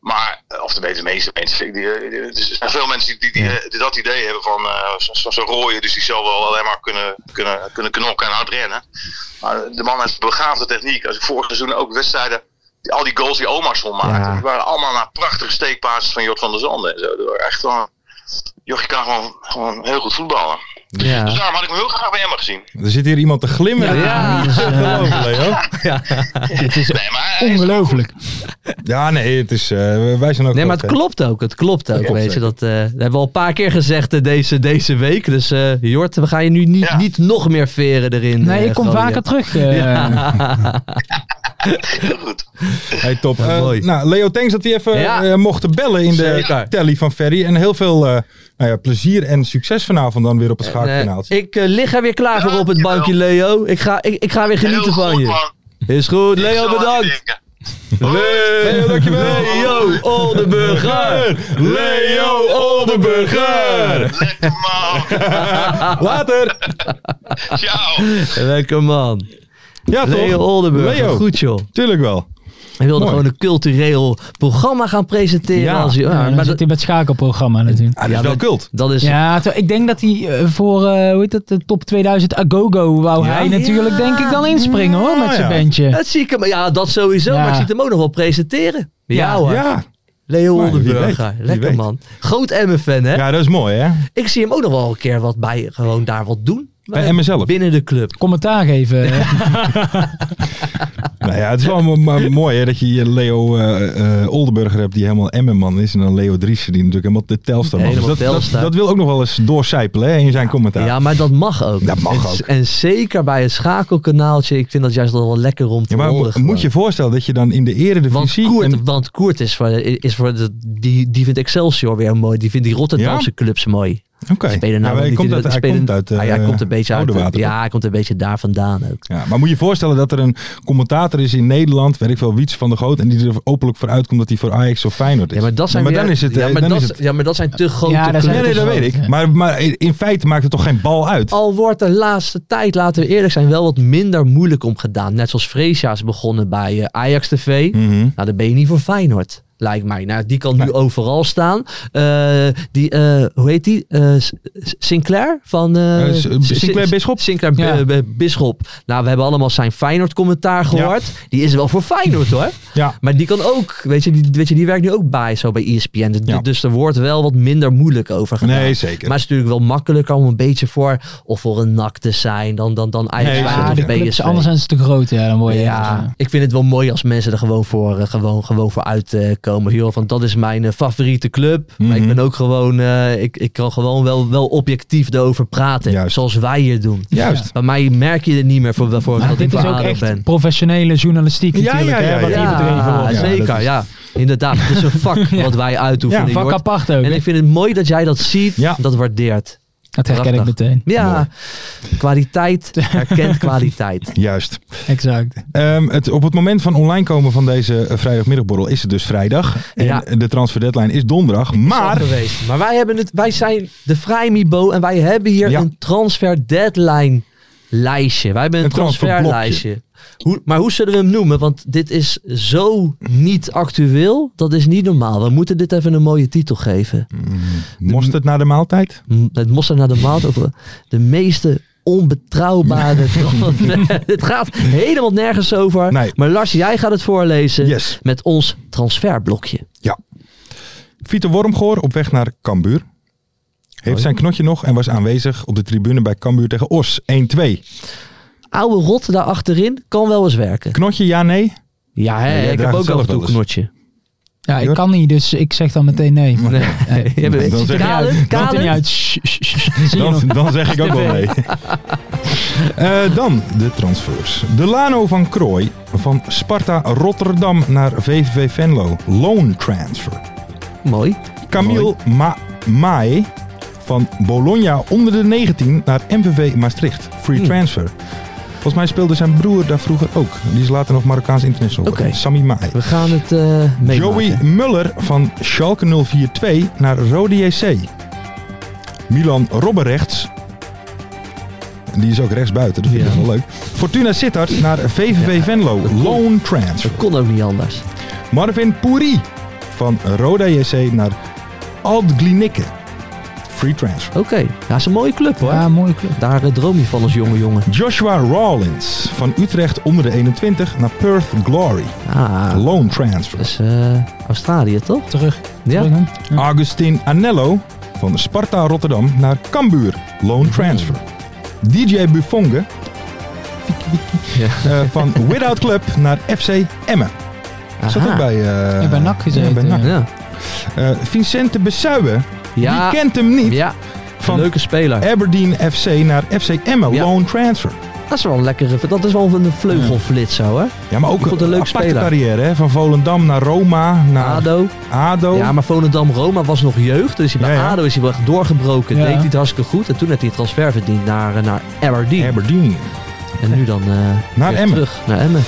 Maar, eh, of de meeste mensen, ik- die, die- er zijn veel mensen die, die, eh, die dat idee hebben van eh, zo- zo- zo'n rooien, dus die zal wel alleen maar kunnen, kunnen, kunnen knokken en hard rennen. Maar de man heeft begaafde techniek. Als ik vorig seizoen ook wedstrijden, die- al die goals die Omarsson maakte,
Ja.
die waren allemaal naar prachtige steekpases van Jort van der Zanden. En zo. Dat waren Echt wel, Jort, je kan gewoon, gewoon heel goed voetballen. Dus
Ja.
daarom had ik hem heel graag bij Emma gezien.
Er zit hier iemand te glimmen.
Ja.
Ja.
Niet te geloven, Leo.
Het is
Nee, maar hij is-
ongelooflijk.
Ja, nee, het is, eh, wij zijn ook
Nee, maar
wel
het
fan.
klopt ook. Het klopt ook,
klopt
weet je.
zeker.
Dat, eh, dat hebben we al een paar keer gezegd eh, deze, deze week. Dus eh, Jort, we gaan je nu niet,
Ja.
niet nog meer veren erin.
Nee,
eh,
ik kom
gooien.
vaker terug. eh.
heel goed.
Hey, top.
Ja,
Eh,
mooi.
nou, Leo, thanks dat hij even
Ja.
eh, mocht bellen in de
Zeker.
telly van Ferry. En heel veel eh, nou ja, plezier en succes vanavond dan weer op het
Nee,
schaakkanaal.
ik eh, lig er weer klaar voor op het
Dankjewel.
bankje, Leo. Ik ga, ik, ik ga weer
Heel
genieten van
goed,
je.
man.
Is goed,
Ik zal
Leo,
aan je
bedankt.
denken.
Leo, dankjewel.
Leo Oldenburger.
Leo Oldenburger.
Lekker man.
Later.
Ciao.
Lekker man.
Ja, toch?
Leo Ah, Oldenburger.
Leo.
Goed joh.
Tuurlijk wel.
Hij wilde
Mooi.
gewoon een cultureel programma gaan presenteren.
Ja.
Als hij,
Ja,
ja,
dan
maar
zit
dat,
hij bij het schakelprogramma natuurlijk.
Ah, dat is
Ja,
wel
dat-
kult.
dat is...
Ja, terwijl ik denk dat hij eh, voor, eh, hoe heet dat, de top 2000 Agogo wou
Ja?
hij natuurlijk
Ja. Eh.
denk ik dan inspringen hoor, met
Ja,
zijn
ja.
bandje.
Dat zie ik hem, ja, dat sowieso.
Ja.
Maar ik zie hem ook nog wel presenteren. Ja,
Ja.
hoor.
Ja.
Leo
Maar wie
Oldenburger.
weet, wie
Lekker
weet.
man. Groot Emmen-fan hè.
ja, dat is mooi, hè?
Ik zie hem ook nog wel een keer wat bij, gewoon daar wat doen.
Bij Emmen zelf.
Binnen de club.
Commentaar geven. eh,
Nou ja, het is wel mo- mo- mooi hè, dat je hier Leo eh, eh, Oldenburger hebt die helemaal Emmenman is. En dan Leo Driessen die natuurlijk helemaal de Telstar man is.
Helemaal
Dat, dat,
Telstar.
dat wil ook nog wel eens doorcijpelen hè, in zijn commentaar.
Ja, maar dat mag ook.
Dat mag
en,
ook.
En zeker bij een schakelkanaaltje. Ik vind dat juist wel lekker om
Ja,
te
maar mo-
horen. gewoon.
moet je voorstellen dat je dan in de
want
eredivisie...
Koert,
en-
want Koert is voor, is voor de- die, die vindt Excelsior weer mooi. Die vindt die Rotterdamse clubs mooi.
Oké.
Spelen
Ja,
nou
maar hij
niet
komt
in de-
uit, hij
spelen-
komt uit,
Ah, ja, hij
eh,
komt een beetje uit.
Oudewater,
ja, hij komt een beetje daar vandaan ook.
Ja, maar moet je je voorstellen dat er een commentator is in Nederland, weet ik veel, Wiets van der Goot, en die er openlijk voor uitkomt dat hij voor Ajax of Feyenoord is.
Ja, maar dat zijn
maar
weer-
dan is het...
ja,
eh,
maar
dan
dat,
is het
ja, maar dat zijn te grote
Dus- Ja, daar zijn
nee,
clubs.
nee, dat weet ik. Maar, maar in feite maakt het toch geen bal uit?
Al wordt de laatste tijd, laten we eerlijk zijn, wel wat minder moeilijk om gedaan. Net zoals Fresia is begonnen bij eh, Ajax TV.
Mhm.
Nou, dan ben je niet voor Feyenoord. Lijkt mij. Nou, die kan nu overal staan. Eh, die, eh, hoe heet die? Eh, S- S- Sinclair van... eh,
Eh, S- Sinclair Bisschop?
Sinclair
Ja.
eh, B- Bisschop. Nou, we hebben allemaal zijn Feyenoord commentaar gehoord. Die is wel voor Feyenoord hoor.
Ja.
Maar die kan ook, weet je, die, weet je, die werkt nu ook bij zo bij ESPN. Dus-
Ja.
Dus er wordt wel wat minder moeilijk over gedaan.
Nee, zeker.
Maar het is natuurlijk wel makkelijker om een beetje voor of voor een nak te zijn dan, dan, dan
Nee,
eigenlijk E
Ja,
dat
de
is
clubs, anders zijn ze te groot. Ja, dan word je
eh. ja, ik vind het wel mooi als mensen er gewoon voor, eh, gewoon, gewoon voor uitkomen. Joh, want dat is mijn eh, favoriete club. Maar
Mhm.
ik ben ook gewoon, eh, ik, ik kan gewoon wel, wel objectief erover praten.
Juist.
Zoals wij hier doen.
Juist.
Bij mij merk je het niet meer voor, voor
Maar
dat ik
Nou, dit
voor
is ook
ADO
echt
ben.
professionele journalistiek
Ja,
natuurlijk,
ja, ja,
hè, wat
ja.
hier bedreven wordt.
Ja,
zeker,
dat
ja, Inderdaad, het is een vak wat wij uitoefenen.
Ja,
Vak
Jort.
apart ook.
En
hè.
ik vind het mooi dat jij dat ziet,
Ja.
dat waardeert.
Dat herken ik
Prachtig.
meteen.
Ja,
Mooi.
kwaliteit herkent kwaliteit.
Juist.
Exact.
Ehm, het, op het moment van online komen van deze eh, vrijdagmiddagborrel is het dus vrijdag. En
Ja.
de transfer deadline is donderdag. Maar
Zo geweest. maar wij, hebben het, wij zijn de Vrijmibo en wij hebben hier
Ja.
een transfer deadline lijstje. Wij hebben een,
Een
transferlijstje. Hoe, maar hoe zullen we hem noemen? Want dit is zo niet actueel. Dat is niet normaal. We moeten dit even een mooie titel geven.
moest het naar de maaltijd?
M- Het mosser naar de maat over de meeste onbetrouwbare transfer. Het gaat helemaal nergens over.
Nee.
Maar Lars, jij gaat het voorlezen
Yes.
met ons transferblokje.
Vito Wormgoor op weg naar Cambuur. Heeft zijn knotje nog en was aanwezig op de tribune bij Cambuur tegen Os 1-2.
Oude rot daar achterin kan wel eens werken.
Knotje, ja, nee?
Ja, hè,
jij
ik heb
draagt
ook
zelf
af en toe
wel
een
eens.
knotje.
Ja, ik
Jor?
kan niet, dus ik zeg dan meteen nee.
Nee, je bent-
Dan zeg je-
Kalen,
Maakt er
Kalen?
niet uit. Shh, shh, shh. Zie je nog?
Dan, dan zeg ik ook wel nee. Eh, dan de transfers. De Lano van Krooi van Sparta Rotterdam naar VVV Venlo. Loan transfer.
Mooi.
Camille Ma Mae van Bologna onder de 19 naar MVV Maastricht. Free
Hmm.
transfer. Volgens mij speelde zijn broer daar vroeger ook. Die is later nog Marokkaans international geworden.
Oké.
Sammy Mae.
We gaan het eh meemaken.
Joey Muller van Schalke 042 naar Rode JC. Milan Robberechts. Die is ook rechtsbuiten, dat vind ik
Ja.
wel leuk. Fortuna Sittard naar VVV Venlo. Loan transfer.
Dat kon ook niet anders.
Marvin Pouri van Roda JC naar Altglinikke. Free transfer.
Oké, ja, is een mooie club hoor.
Ja, mooie club.
Daar eh, droom je van als jonge jongen.
Joshua Rawlins van Utrecht onder de 21 naar Perth Glory.
Ah,
Loan
dat Hmm.
transfer.
is eh, Australië toch?
Terug.
Ja.
Terug, hè? Ja.
Augustin Anello van Sparta Rotterdam naar Cambuur.
Hmm.
Loan transfer. DJ Buffonge
Ja.
eh, van Without Club naar FC Emmen. Zat
Aha.
ook bij... eh,
Ja, bij NAC gezeten,
ja, bij
ja.
NAC.
Ja.
Eh, Vicente Bessuyen,
Ja,
die kent hem niet.
ja.
Van
leuke speler.
Aberdeen FC naar FC Emmen.
Ja.
Loan transfer.
Dat is wel een lekkere. Dat is wel een vleugelflits zo, hè?
Ja, maar ook
Ik
een,
vond het een leuk
aparte
speler.
carrière. Hè? Van Volendam naar Roma, naar ADO.
Ado. Ja, maar Volendam Roma was nog jeugd. Dus bij
Oh. Ja, ja.
Ado is hij wel echt doorgebroken.
Ja.
Deed hij het hartstikke goed. En toen heeft hij een transfer verdiend naar, eh, naar Aberdeen.
Aberdeen.
en nu dan eh,
Naar
weer
Emmen.
terug naar Emmen.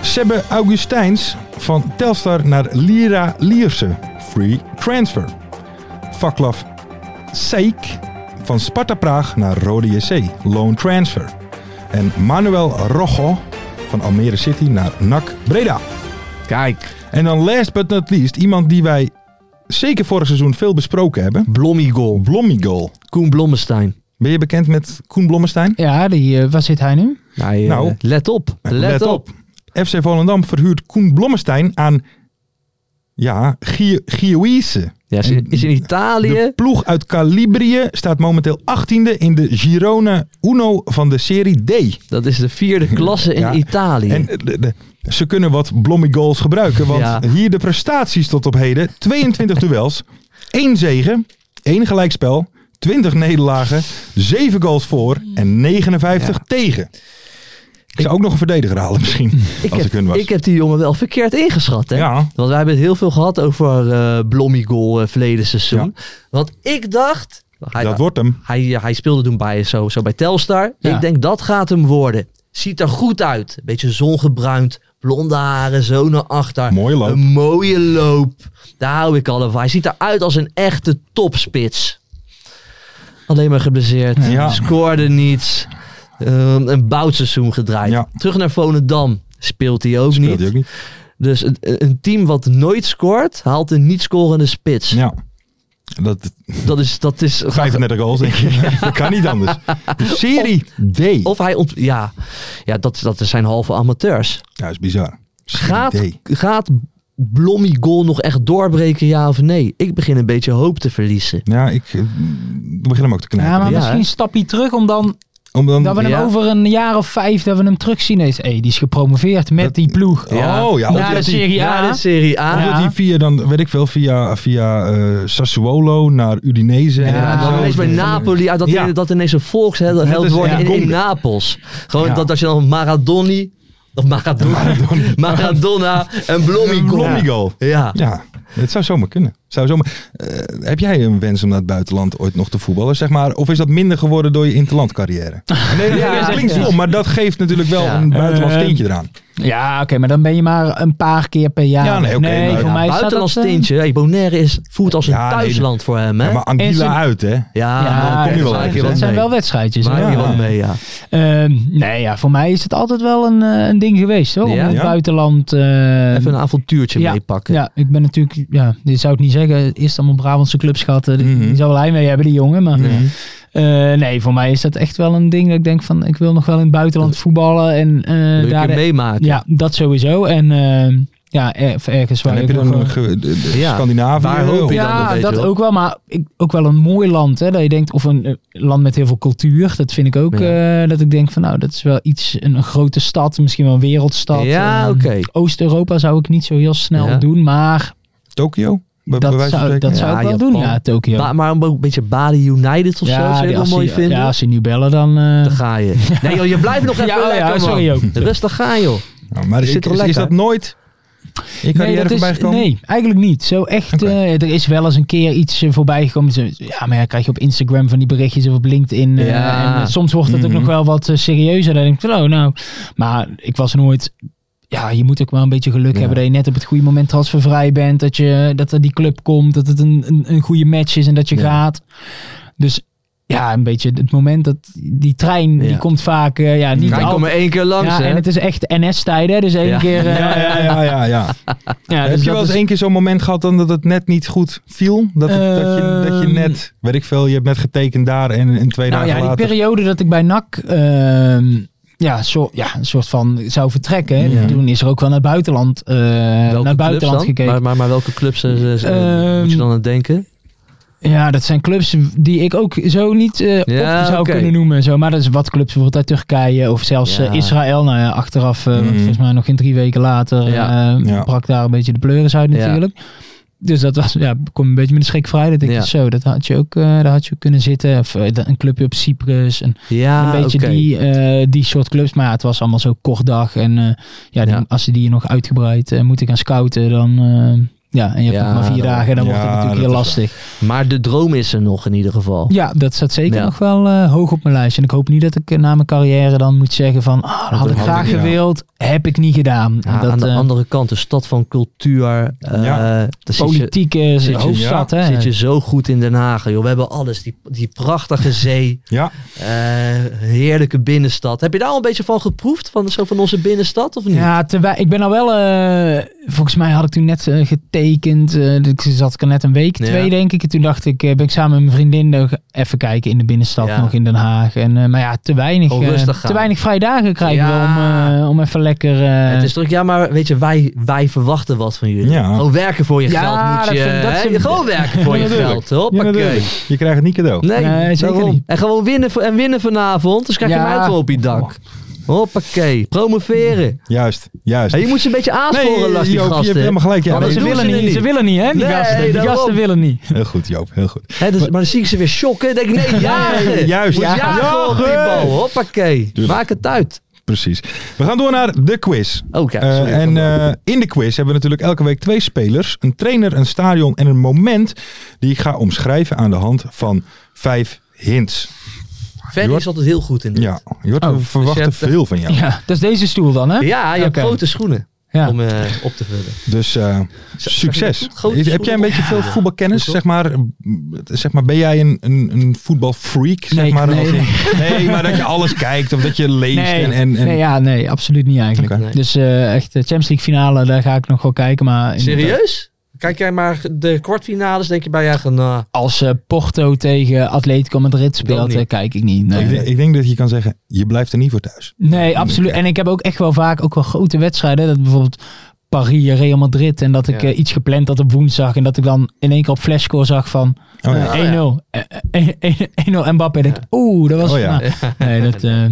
Sebbe Augustijns van Telstar naar Lira Lierse. Free transfer. Vaklav Seik van Sparta Praag naar Rode JC. Loan transfer. En Manuel Rojo van Almere City naar NAC Breda.
Kijk.
En dan last but not least iemand die wij zeker vorig seizoen veel besproken hebben.
Blommigol.
Blommigol.
Koen Blommestein.
Ben je bekend met Koen Blommestein?
Ja, die, eh, waar zit hij nu?
Hij, eh,
Nou.
let op. Let, op.
FC Volendam verhuurt Koen Blommestein aan ja, Gie- Gioise.
Ja, is, in- is in
De
Italië.
ploeg uit Calibrië staat momenteel 18e in de Girona Uno van de Serie D.
Dat is de vierde klasse in
Ja.
Italië.
En eh, de- de- ze kunnen wat blommy goals gebruiken, want
Ja.
hier de prestaties tot op heden. 22 duels, 1 zegen, 1 gelijkspel, 20 nederlagen, 7 goals voor en 59 tegen. Ik zou ook nog een verdediger halen misschien,
ik,
als
heb,
ik hun was.
ik heb die jongen wel verkeerd ingeschat, hè?
ja.
Want wij hebben het heel veel gehad over eh Blommigol eh verleden seizoen. Want ik dacht... Hij,
Dat wordt hem.
hij, eh, hij speelde toen bij, zo, zo bij Telstar.
Ja.
Ik denk dat gaat hem worden. Ziet er goed uit. Beetje zongebruind. Blonde haren, zo naar achter.
Mooie loop.
Een mooie loop. Daar hou ik al van. Hij ziet eruit als een echte topspits. Alleen maar geblesseerd.
Ja.
Scoorde niets. Ehm, een boutseizoen gedraaid.
Ja.
Terug naar Volendam. Speelt hij ook
Speelt
niet.
hij ook niet.
Dus een, een team wat nooit scoort, haalt een niet scorende spits.
Ja. Dat,
Dat is... Dat is
35 goals, denk ik. Dat kan niet anders. De Serie D.
Of hij ont... Ja, ja dat, dat zijn halve amateurs.
Ja, dat is bizar. Serie
Gaat,
D.
gaat Blommy goal nog echt doorbreken, ja of nee? Ik begin een beetje hoop te verliezen.
Ja, ik eh, begin hem ook te knijpen.
Ja, maar
Ja,
misschien
hè?
een stapje terug om dan
Om dan,
dat we hem
Ja.
over een jaar of vijf dat we hem terugzien. Is, hey, die is gepromoveerd met
Dat-
die ploeg.
Ja.
Oh ja, of
Naar de
dat hij-
Serie
Ja,
A.
de Serie A.
of
Ja.
dat hij via, dan, weet ik veel, via, via eh, Sassuolo naar Udinese.
Ja,
Ja,
en
dan
zo.
ineens bij Napoli, ah, dat,
Ja.
dat ineens een volksheld
Dat
held
is-
wordt
ja,
in, in
Gombe.
Napels. Gewoon
Ja.
dat als je dan Maradoni, of Maradona, Maradona en Blommy
Een
goal.
Blommy goal.
Ja.
Ja, het zou zomaar kunnen. Zou zomaar. Eh, heb jij een wens om naar het buitenland ooit nog te voetballen? Zeg maar, of is dat minder geworden door je interlandcarrière? Nee, nee,
Ja,
dat klinkt
ja.
stom, maar dat geeft natuurlijk wel
Ja.
een buitenlands
Eh,
tintje eraan.
Ja, oké, maar dan ben je maar een paar keer per jaar.
Ja, nee, oké, maar-
voor
Ja,
mij staat
Buitenlands
dat, eh,
tintje. Hey, Bonaire is, voelt als een
Ja, nee,
thuisland voor hem, hè?
Ja, maar Anguilla
is een-
uit, hè?
Ja,
eh, Ja,
dan kom je wel
maak
ergens,
je
hè?
dat zijn
mee.
wel wedstrijdjes. hè?
Maak je
Ja.
wel mee, ja.
Ehm, nee, ja, voor mij is het altijd wel een, eh, een ding geweest, hoor. Om
Ja?
in het
Ja.
buitenland... eh,
Even een avontuurtje
ja,
meepakken.
Ja, ik ben natuurlijk... Ja, dit zou ik niet zeggen. Eerst allemaal Brabantse clubs gehad. eh, die-
Mhm.
Die zou wel heimwee hebben, die jongen. Maar
Mhm.
eh, nee, voor mij is dat echt wel een ding dat ik denk van... Ik wil nog wel in het buitenland voetballen en eh,
Leuk
daar...
je
de-
meemaken.
ja, dat sowieso. En eh, ja, er- ergens waar
Dan heb
ik
je
nog,
dan een
eh,
ge- de- de
Ja.
Scandinavië. oh,
Waar hoop je
of-
dan? dat
Ja,
weet
dat
je wel.
ook wel. Maar ik, ook wel een mooi land. Hè, dat je denkt, of een eh, land met heel veel cultuur. Dat vind ik ook.
Ja.
eh, dat ik denk van nou, dat is wel iets. Een, een grote stad, misschien wel een wereldstad.
Ja,
Ehm,
oké.
Oost-Europa zou ik niet zo heel snel
Ja.
doen. Maar
Tokio? Bij- bij
dat
wijze van
zou,
spreken?
dat
Ja,
zou ik wel
Japan.
doen. Ja, Tokio.
Ba- maar ook een beetje Bali United of zo,
ja,
zou je
die-
wel
als
mooi
ze-
vinden?
Ja, als ze nu bellen, dan. eh,
Dan ga je. Nee joh, je blijft nog even
Ja, oh ja,
lekker man.
sorry ook.
Rustig gaan joh.
Nou, maar
Zit
ik-
er
is, is
lekker.
dat nooit je carrière
dat is-
voorbij gekomen?
nee, eigenlijk niet. Zo echt,
Oké.
eh, er is wel eens een keer iets eh, voorbij gekomen. Zo- Ja, maar ja, krijg je op Instagram van die berichtjes of op LinkedIn. eh,
Ja.
en, eh, soms wordt het
Mhm.
ook nog wel wat eh, serieuzer. Dan denk ik van, oh nou. Maar ik was nooit... Ja, je moet ook wel een beetje geluk
Ja.
hebben dat je net op het goede moment transfervrij bent. Dat, je, dat er die club komt, dat het een, een, een goede match is en dat je
Ja.
gaat. Dus ja, een beetje het moment dat die trein,
Ja.
die komt vaak eh, ja, niet
Kijk, kom
altijd.
er één keer langs
Ja,
hè.
en het is echt NS-tijden, dus één
Ja.
keer... eh,
Ja, ja, ja, ja. ja.
ja,
heb
dus
je
dat
wel
is-
eens één keer zo'n moment gehad dan dat het net niet goed viel? Dat, het- dat, je, dat je
Ehm.
net, weet ik veel, je hebt net getekend daar en, en twee
Nou
dagen
ja, die
later...
periode dat ik bij NAC ehm, ja, zo, ja, een soort van zou vertrekken.
Ja.
Toen is er ook wel naar het buitenland, eh, naar
Welke
het
clubs
buitenland
dan?
gekeken.
Maar, maar, maar welke clubs eh, eh,
Ehm,
moet je dan aan denken?
Ja, dat zijn clubs die ik ook zo niet eh,
Ja,
op zou
oké.
kunnen noemen. en Zo. Maar dat is wat clubs bijvoorbeeld uit Turkije of zelfs
Ja.
eh, Israël. Nou ja, achteraf, eh, want
Mhm.
volgens mij nog geen drie weken later,
Ja.
eh,
Ja.
brak daar een beetje de pleuris uit
Ja.
natuurlijk. Dus dat was, ja, kom een beetje met een schrik vrij. Dat denk je,
Ja.
zo, dat had je ook, eh, daar had je ook kunnen zitten. Of eh, een clubje op Cyprus. En
Ja,
een beetje
Ah, oké.
die, eh, die soort clubs. Maar ja, het was allemaal zo kort dag. En eh, ja, die-
Ja.
als ze die nog uitgebreid eh, moeten gaan scouten, dan... eh, ja, en je hebt
Ja,
nog maar vier
dan-
dagen, dan
Ja,
wordt het natuurlijk
dat
heel
is
lastig.
Maar de droom is er nog in ieder geval.
Ja, dat staat zeker
Ja.
nog wel eh, hoog op mijn lijst. En ik hoop niet dat ik eh, na mijn carrière dan moet zeggen van... ah, dat had ik
had
graag
ik- ja.
gewild, heb ik niet gedaan.
Ja,
dat,
aan de
eh,
andere kant, een stad van cultuur. eh
Ja.
daar zit je-
politieke eh,
zit je-
hoofdstad, hè.
Zit je zo goed in Den Haag. Joh. We hebben alles. Die, die prachtige zee.
Ja,
eh, heerlijke binnenstad. Heb je daar al een beetje van geproefd? Van, zo van onze binnenstad of niet?
Ja, terwijl, ik ben al wel... eh, volgens mij had ik toen net eh, getekend. eh, ik zat ik er net een week,
Ja.
twee denk ik. En toen dacht ik, eh, ben ik samen met mijn vriendin nog even kijken in de binnenstad
Ja.
nog in Den Haag. En, eh, maar ja, te weinig,
Gewoon
eh,
rustig
te
gaan.
weinig vrije dagen krijgen we
Ja.
om, eh, om even lekker... eh,
het is druk, ja, maar weet je, wij, wij verwachten wat van jullie.
Ja.
Gewoon werken voor je
Ja,
geld moet
dat
je.
vind- dat
hè?
vind-
Gewoon werken voor je
natuurlijk.
geld. Hoppakee.
natuurlijk. je krijgt het niet cadeau.
nee,
Nee, zeker
daarom.
niet.
En gewoon winnen v- en winnen vanavond. Dus krijg je
Ja.
een auto op je dak. Hoppakee. Promoveren.
Juist, juist.
Hé, je moet ze een beetje aansporen,
Nee,
last die
Joop, je
gasten.
hebt helemaal gelijk. Ja,
Want
nee,
ze
doen
willen
ze
niet.
Ze willen niet, hè? Die
Nee,
gasten, die
daarom.
gasten willen niet.
Heel goed, Joop. Heel goed.
Hè, dus, maar dan zie ik ze weer shocken. Dan denk ik, nee, jagen.
juist.
Moet
Ja,
jagen op die
jagen.
bal. Hoppakee.
Tuurlijk.
Maak het uit.
Precies. We gaan door naar de quiz.
Oh, kijk.
Eh,
sorry.
en eh, in de quiz hebben we natuurlijk elke week twee spelers, een trainer, een stadion en een moment die ik ga omschrijven aan de hand van vijf hints.
Ferry is altijd heel goed in dit.
Ja, Jort,
Oh,
we
dus
verwachten
hebt, eh,
veel van jou.
Ja, dat is deze stoel dan, hè?
Ja, je hebt
Oké.
grote schoenen
Ja.
om eh, op te vullen.
Dus eh, succes.
goed? Grote
Heb jij
schoenen
een beetje
op.
veel
Ja.
voetbalkennis? Zeg maar, m, zeg maar, ben jij een, een, een voetbalfreak?
Nee,
zeg maar,
nee,
Als in- nee, maar dat je alles kijkt of dat je leest.
Nee,
en, en, en,
nee, ja, nee, absoluut niet eigenlijk.
Oké.
Nee.
Dus eh, echt, de Champions League finale, daar ga ik nog wel kijken. Maar inderdaad,
Serieus? Kijk jij maar de kwartfinales, denk je bij jou gaan... eh,
Als eh, Porto tegen Atletico Madrid speelt,
niet.
eh, kijk ik niet. Nee.
Ik, denk, ik denk dat je kan zeggen, je blijft er niet voor thuis.
Nee, absoluut. En ik heb ook echt wel vaak ook wel grote wedstrijden. Dat bijvoorbeeld Paris, Real Madrid. En dat ik
Ja.
eh, iets gepland had op woensdag. En dat ik dan in één keer op flashscore zag van
Oh, ja.
eh, 1-0. eh, eh, 1-0 Mbappé. En ik denk, oeh, dat was...
Oh ja.
nou, nee, dat... eh,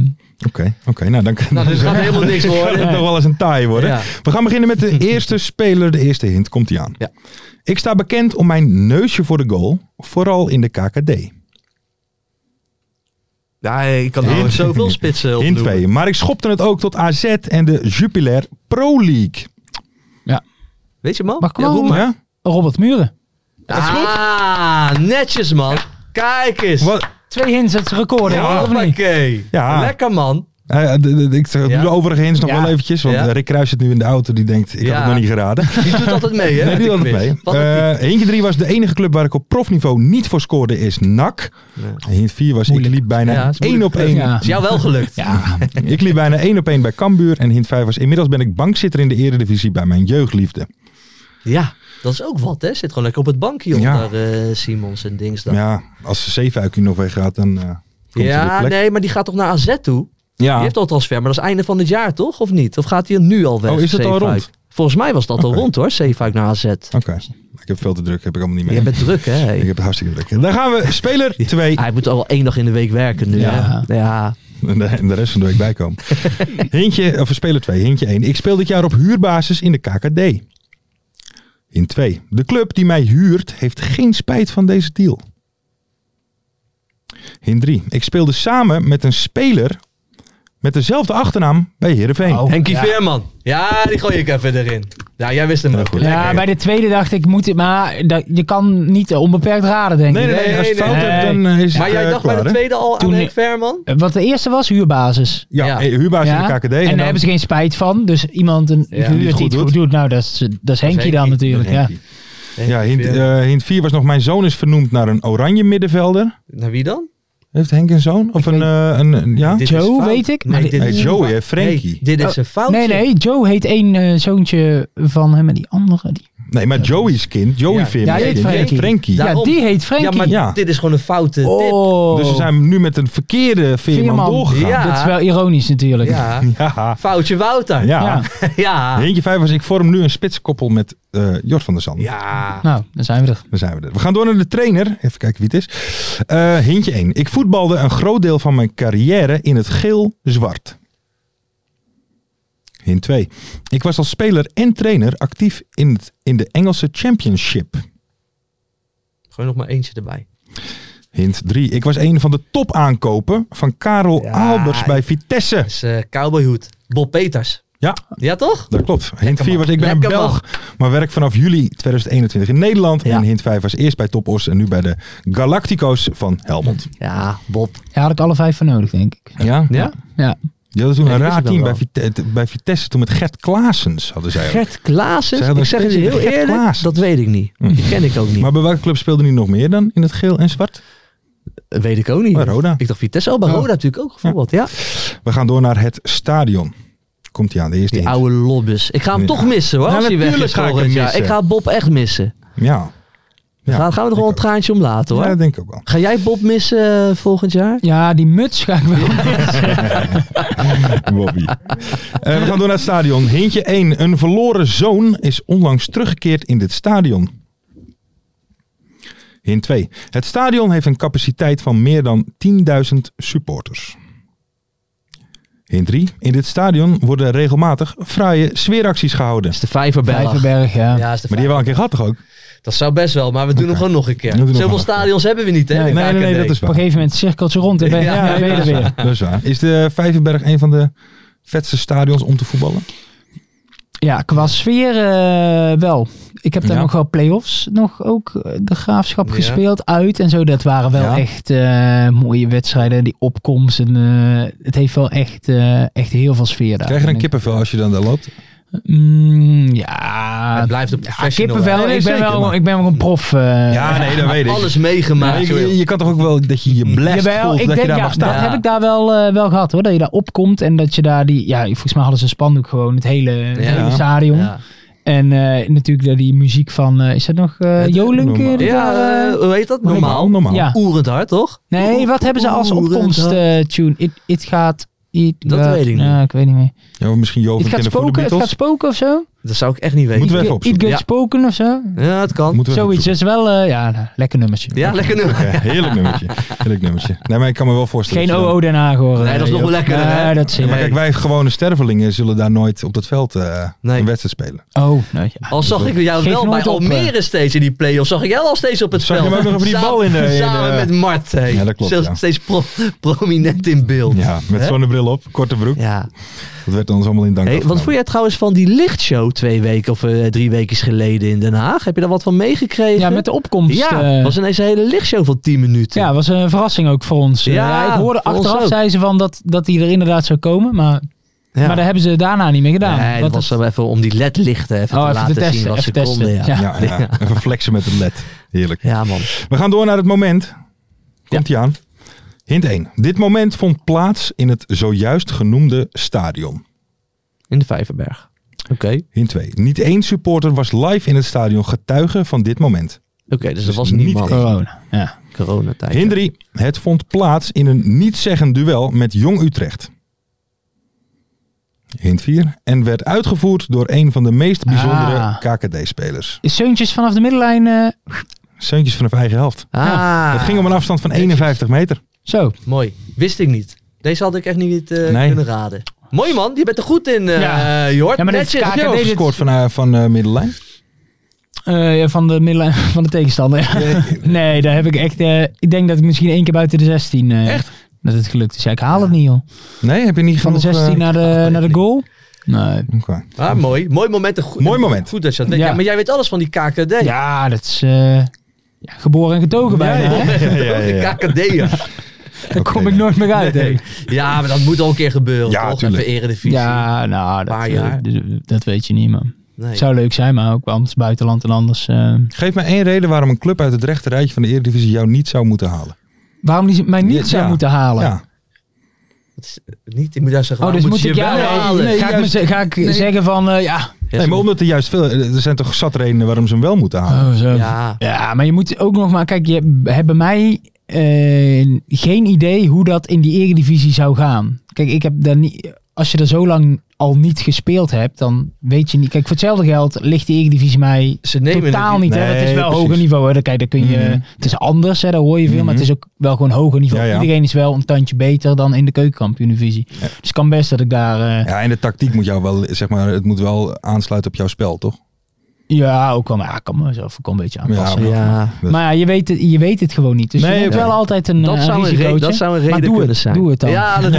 Oké, oké. nou, dan kan
Nou, dit gaat helemaal niks
kan
worden.
het toch wel eens een taai worden.
Ja.
We gaan beginnen met de eerste speler. De eerste hint komt hij aan.
Ja.
Ik sta bekend om mijn neusje voor de goal, vooral in de KKD.
Ja, ik kan
Hint.
nou zoveel spitsen
In
opnoemen.
twee. Maar ik schopte het ook tot AZ en de Jupiler Pro League.
Weet je man?
Mag ik hem
Ja,
wel
roep maar.
Ja?
Robert Muren.
Dat is goed.
Ah, netjes man. Kijk eens.
Wat?
Twee hints, het record. hè, of niet?
Hoppakee.
Ja.
Lekker man.
Eh, d- d- d- ik doe
Ja.
de overige hints nog
Ja.
wel eventjes. Want
Ja.
eh, Rick Kruijs zit nu in de auto. Die denkt, ik had
Ja.
het nog niet geraden.
Die doet altijd mee, hè?
Nee, die
met
had
de
het
quiz.
mee.
Wat een
Eh, Hintje 3 was de enige club waar ik op profniveau niet voor scoorde is NAC. Hint 4 was
Moeilijk.
ik liep bijna
Ja, het is
één
moeilijk.
op één.
Ja.
Is jou wel gelukt.
Ja,
Ik liep bijna één op één bij Cambuur. En hint 5 was inmiddels ben ik bankzitter in de eredivisie bij mijn jeugdliefde.
Ja, dat is ook wat, hè? Zit gewoon lekker op het bankje
Ja.
onder eh, Simons en Dings dan.
Ja, als Zeefuik hier nog weggaat, dan eh, komt hij de
Ja,
plek.
nee, maar die gaat toch naar AZ toe?
Ja,
Die heeft al transfer, maar dat is einde van het jaar toch? Of niet? Of gaat hij nu al weg?
Oh, is dat al
Zeefuik?
rond? Oh.
Volgens mij was dat al
Oké.
rond hoor, Zeefuik naar AZ.
oké. Ik heb veel te druk, heb ik allemaal niet mee.
Je bent druk hè? hey.
Ik heb het hartstikke druk. Dan gaan we speler 2.
Hij moet al wel één dag in de week werken nu
Ja.
hè? Ja.
En de, en de rest van de week bijkomen. Hintje, of speler 2, hintje 1. Ik speel dit jaar op huurbasis in de KKD. In 2. De club die mij huurt heeft geen spijt van deze deal. In 3. Ik speelde samen met een speler met dezelfde achternaam bij Heerenveen.
Oh.
Henkie
Ja.
Veerman. Ja, die gooi ik even erin. Ja, jij wist hem ook.
goed.
ja
Lekker.
bij de tweede dacht ik, moet het, maar dat, je kan niet eh, onbeperkt raden, denk
Nee,
ik.
nee, nee. Als je het
Nee,
fout
nee.
hebt, dan eh, is het
Maar jij
eh,
dacht
klaar,
bij de
hè?
tweede al
Toen-
aan Henk Veerman?
Eh, Wat de eerste was, huurbasis.
Ja,
Ja.
eh, huurbasis in de
Ja.
KKD.
En,
dan-
daar hebben ze geen spijt van. Dus iemand een
Ja.
huurt
Die
die
het
iets
goed
goed
doet.
doet. Nou, dat is, dat is Henkie dan
Henkie.
natuurlijk. Ja.
Henkie. Ja, hint,
Veerman.
eh, hint 4 was nog mijn zoon is vernoemd naar een oranje middenvelder.
Naar wie dan?
Heeft Henk een zoon? Of een, eh, een, een- ja?
Dit is
Joe,
fout.
weet ik.
Nee,
maar
dit
dit-
Hey, Joey, hè? Frankie.
Oh, Nee, dit is een foutje.
Oh, Nee, nee, Joe heet één eh, zoontje van hem en die andere. Die...
Nee, maar Joey's kind, Joey
Ja.
Veerman,
Ja, die
kind,
heet
die heet Frankie.
Ja,
Daarom.
die heet
Ja,
Frankie.
maar
Ja.
dit is gewoon een foute tip.
oh,
Dus we zijn nu met een verkeerde Veerman,
Veerman.
doorgegaan.
Ja.
Ja.
dat is wel ironisch natuurlijk.
Ja.
Ja.
Foutje Wouter.
Ja.
Ja.
Eentje vijf was ik vorm nu een spitskoppel met eh Jort van der Zand.
Ja.
Nou, dan zijn we er.
Dan zijn we er. We gaan door naar de trainer. Even kijken wie het is. Eh hintje 1. Ik voetbalde een groot deel van mijn carrière in het geel-zwart. Hint 2. Ik was als speler en trainer actief in, het, in de Engelse Championship.
Gewoon nog maar eentje erbij.
Hint 3. Ik was een van de topaankopen van Karel
Ja.
Albers bij Vitesse.
Dat is eh, cowboyhoed. Bob Peters.
Ja,
Ja, toch?
Dat klopt. Hint
man.
4 was ik ben een
Lekker
Belg, maar werk vanaf juli 2021 in Nederland.
Ja.
En hint 5 was eerst bij Topos en nu bij de Galactico's van Helmond.
Ja, Bob.
Daar had ik alle vijf voor nodig, denk ik.
Ja?
Ja?
Ja.
Die hadden toen een
Ja, die wist
raar
ik dan
team bij,
wel.
Vite- bij Vitesse, toen met Gert Klaasens hadden zij. ook.
Gert
Ze
Klaassen.
hadden
Ik zeg het je
een
heel
Gert
eerlijk,
Klaassen. Mm.
dat weet ik niet. Die ken ik ook niet.
Maar bij welke club speelde hij nog meer dan in het geel en zwart?
Dat weet ik ook niet.
Bij Roda.
Ik dacht Vitesse. Oh, bij
Ja.
Roda natuurlijk ook bijvoorbeeld. Ja.
We gaan door naar het stadion. Komt hij aan, de eerste
Die
hint.
oude lobbes. Ik ga hem
Ja.
toch missen hoor.
Ja,
als hij weg
natuurlijk
is
ga ik hem
volgend jaar.
missen.
Ik ga Bob echt missen.
Ja. ja.
Daar gaan we er gewoon een traantje om laten hoor.
Ja, dat denk ik ook wel.
Ga jij Bob missen eh, volgend jaar?
ja, die muts ga ik wel.
Bobby. Eh, we gaan door naar het stadion. Hintje 1. Een verloren zoon is onlangs teruggekeerd in dit stadion. Hint 2. Het stadion heeft een capaciteit van meer dan 10.000 supporters. Hint 3. In dit stadion worden regelmatig fraaie sfeeracties gehouden.
Dat is de Vijverberg.
Vijverberg, ja.
Ja, is de
Maar die hebben we al een keer gehad toch ook?
Dat zou best wel, maar we doen hem gewoon nog een keer.
We doen hem
Zoveel
nog een keer.
stadions hebben we niet, hè?
Nee,
in de
nee, nee,
KKD.
dat is
Op een
waar.
gegeven moment cirkelt ze rond en ben,
Ja,
ja, ben je er weer.
Dat is waar. Is de Vijverberg een van de vetste stadions om te voetballen?
Ja, qua sfeer eh, wel. Ik heb daar
Ja.
nog wel play-offs nog ook eh, de graafschap
Ja.
gespeeld uit en zo. Dat waren wel
Ja.
echt eh, mooie wedstrijden. Die opkomst en eh, het heeft wel echt, eh, echt heel veel sfeer daar.
Krijg je dan
En ik-
kippenvel als je dan daar loopt?
Mm, ja.
Het blijft een
ja,
professional.
kippenvel.
Nee, nee,
ik, ben
zeker,
wel,
maar-
ik ben wel een prof. eh,
Ja, nee, dat weet ik.
Alles meegemaakt.
je, je- je kan toch ook wel dat je je blast
Mm, Jawel,
voelt dat je daar
ja,
mag staan.
Dat
Ja.
heb ik daar wel, eh, wel gehad hoor. Dat je daar opkomt en dat je daar die. Ja, volgens mij hadden ze een spandoek gewoon, het hele, het
Ja.
hele stadion.
Ja,
En eh, natuurlijk dat die muziek van. eh, is dat nog eh Jolink? eh,
normaal.
die
ja
daar, eh,
eh, hoe heet dat? Normaal.
Normaal, normaal.
Ja.
Oerend hard, toch?
nee, wat hebben ze als
Oerend
opkomst
hard.
eh, tune? It, it gaat. It
Dat
gaat-
weet ik niet.
Ja, ik weet niet meer.
Ja, of misschien Joven
Het gaat
kennen van de
spoken, het gaat
Beatles.
spoken of zo?
Dat zou ik echt niet
Moeten
weten.
we even
It
opzoeken.
Gets
Ja.
Spoken of zo?
Ja, het kan.
Moeten we even
Zoiets. Dat is wel. eh, ja, nou, lekker nummertje.
Ja, lekker nummer.
opzoeken. Ja, heerlijk nummertje. Heerlijk nummertje. Nee, maar ik kan me wel voorstellen.
Geen
dat je
OO Den Haag hoor.
Nee, dat is nog wel
eh, joh.
lekkerder, hè?
Nee, dat is
dan- Ja, maar kijk, wij gewone stervelingen zullen daar nooit op dat veld eh,
Nee.
een wedstrijd spelen.
Oh, nee. ja.
Al zag ik jou
Geef
wel bij
nooit op, eh.
Almere steeds in die play-offs. Zag ik jou al steeds op het
eh. Zag je
veld.
hem ook nog over die
Samen-
bal in de- in de-
Samen met Mart. hè.
Ja, dat klopt,
Steeds-
ja.
Steeds pro- prominent in beeld.
Ja, met
Hè?
zonnebril op, korte broek.
Ja.
Dat werd ons allemaal in dank
Hey, wat
afgenomen.
vond jij trouwens van die lichtshow twee weken of eh, drie weken geleden in Den Haag? Heb je daar wat van meegekregen?
Ja, met de opkomst.
Ja,
eh,
was ineens een hele lichtshow van 10 minuten.
ja, was een verrassing ook voor ons. Eh,
Ja,
Ja, ik hoorde
voor ons
achteraf,
ook.
zei ze, van dat, dat die er inderdaad zou komen. Maar,
Ja.
maar dat hebben ze daarna niet meer gedaan.
Nee, dat
Want
was wel even om die ledlichten even
Oh,
te
even te
laten
testen,
zien wat
even
ze konden.
testen.
Ja.
Ja.
Ja.
Ja, ja. Even flexen met het led. Heerlijk.
man.
We gaan door naar het moment. Komt ie aan. Hint 1. Dit moment vond plaats in het zojuist genoemde stadion.
In de Vijverberg. Oké. Oké,
Hint 2. Niet één supporter was live in het stadion getuige van dit moment.
dus
Dus
dat was niet
niet
man.
één.
corona. Ja.
Coronatijd.
Hint 3. Het vond plaats in een niet-zeggend duel met Jong Utrecht. Hint 4. En werd uitgevoerd door een van de meest bijzondere
Ah.
KKD-spelers.
Zeuntjes vanaf de middenlijn. eh,
Zeuntjes vanaf eigen helft.
Ah,
Het ging om een afstand van 51 meter.
zo.
mooi. Wist ik niet. Deze had ik echt niet eh,
Nee.
kunnen raden. Mooi man, je bent er goed in, eh
Ja.
Jort.
Ja, maar dit
Netjes.
KKD
Heb je ook
dit-
gescoord van, eh, van eh, middenlijn?
Eh, ja, van de middenlijn van de tegenstander. nee, daar heb ik echt. eh, ik denk dat ik misschien één keer buiten de 16. eh, Dat het gelukt is. Ja, ik haal het niet, joh.
Nee, heb je niet
Van de eh.
genoeg, eh,
16 naar de, naar de goal. Nee.
oké.
Ah, mooi. Mooi moment. en Goed,
Mooi moment.
Goed dat je dat weet.
Ja.
Ja, maar jij weet alles van die KKD.
Ja, dat is. eh, ja, geboren en getogen bijna. hè?
Ja, ja, ja, ja.
KKD'er.
Daar kom
Oké,
ik nooit meer uit.
Nee.
hè.
Ja, maar dat moet al een keer gebeuren.
Ja,
toch?
tuurlijk.
Even eredivisie.
Ja, nou, dat,
Paar
eh,
jaar.
d- dat weet je niet, man.
Nee.
Zou leuk zijn, maar ook wel anders buitenland en anders. eh,
Geef mij één reden waarom een club uit het rechte rijtje van de Eredivisie jou niet zou moeten halen.
waarom die ze- mij niet
Ja,
zou
ja.
moeten halen?
Ja.
Dat is eh, niet, ik moet daar zeggen,
Oh,
waarom
dus moet
moeten
ik
ze
jou
je wel
halen?
halen?
ga ik, me
juist-
ze- ga ik zeggen van, eh, ja.
Nee, maar omdat er juist veel... Er zijn toch zat redenen waarom ze hem wel moeten halen.
Oh, zo.
Ja.
Ja, maar je moet ook nog maar... Kijk, je hebt bij mij eh, geen idee hoe dat in die eredivisie zou gaan. Kijk, ik heb daar niet... Als je er zo lang al niet gespeeld hebt, dan weet je niet... Kijk, voor hetzelfde geld ligt de eredivisie mij
Ze nemen het
totaal
niet.
niet. hè. Het is
Nee,
wel
precies.
hoger niveau. Hè. Dan, kijk, dan kun je, Het is anders, hè, daar hoor je veel. Maar het is ook wel gewoon hoger niveau.
Ja, ja.
Iedereen is wel een tandje beter dan in de keukenkampioen-divisie. Dus het kan best dat ik daar... eh,
Ja, en de tactiek moet jou wel... Zeg maar, het moet wel aansluiten op jouw spel, toch?
ja, ook wel. Maar ja, ik kan mezelf ook wel een beetje aanpassen.
Ja,
Ja.
Dus-
Maar ja, je weet het, je weet het gewoon niet. Dus
Nee,
je hebt
oké.
wel altijd een,
Dat,
eh,
zou een re-
risicootje.
dat zou een
Maar
reden
doe
kunnen
het,
zijn.
Doe het dan.
Ja, dat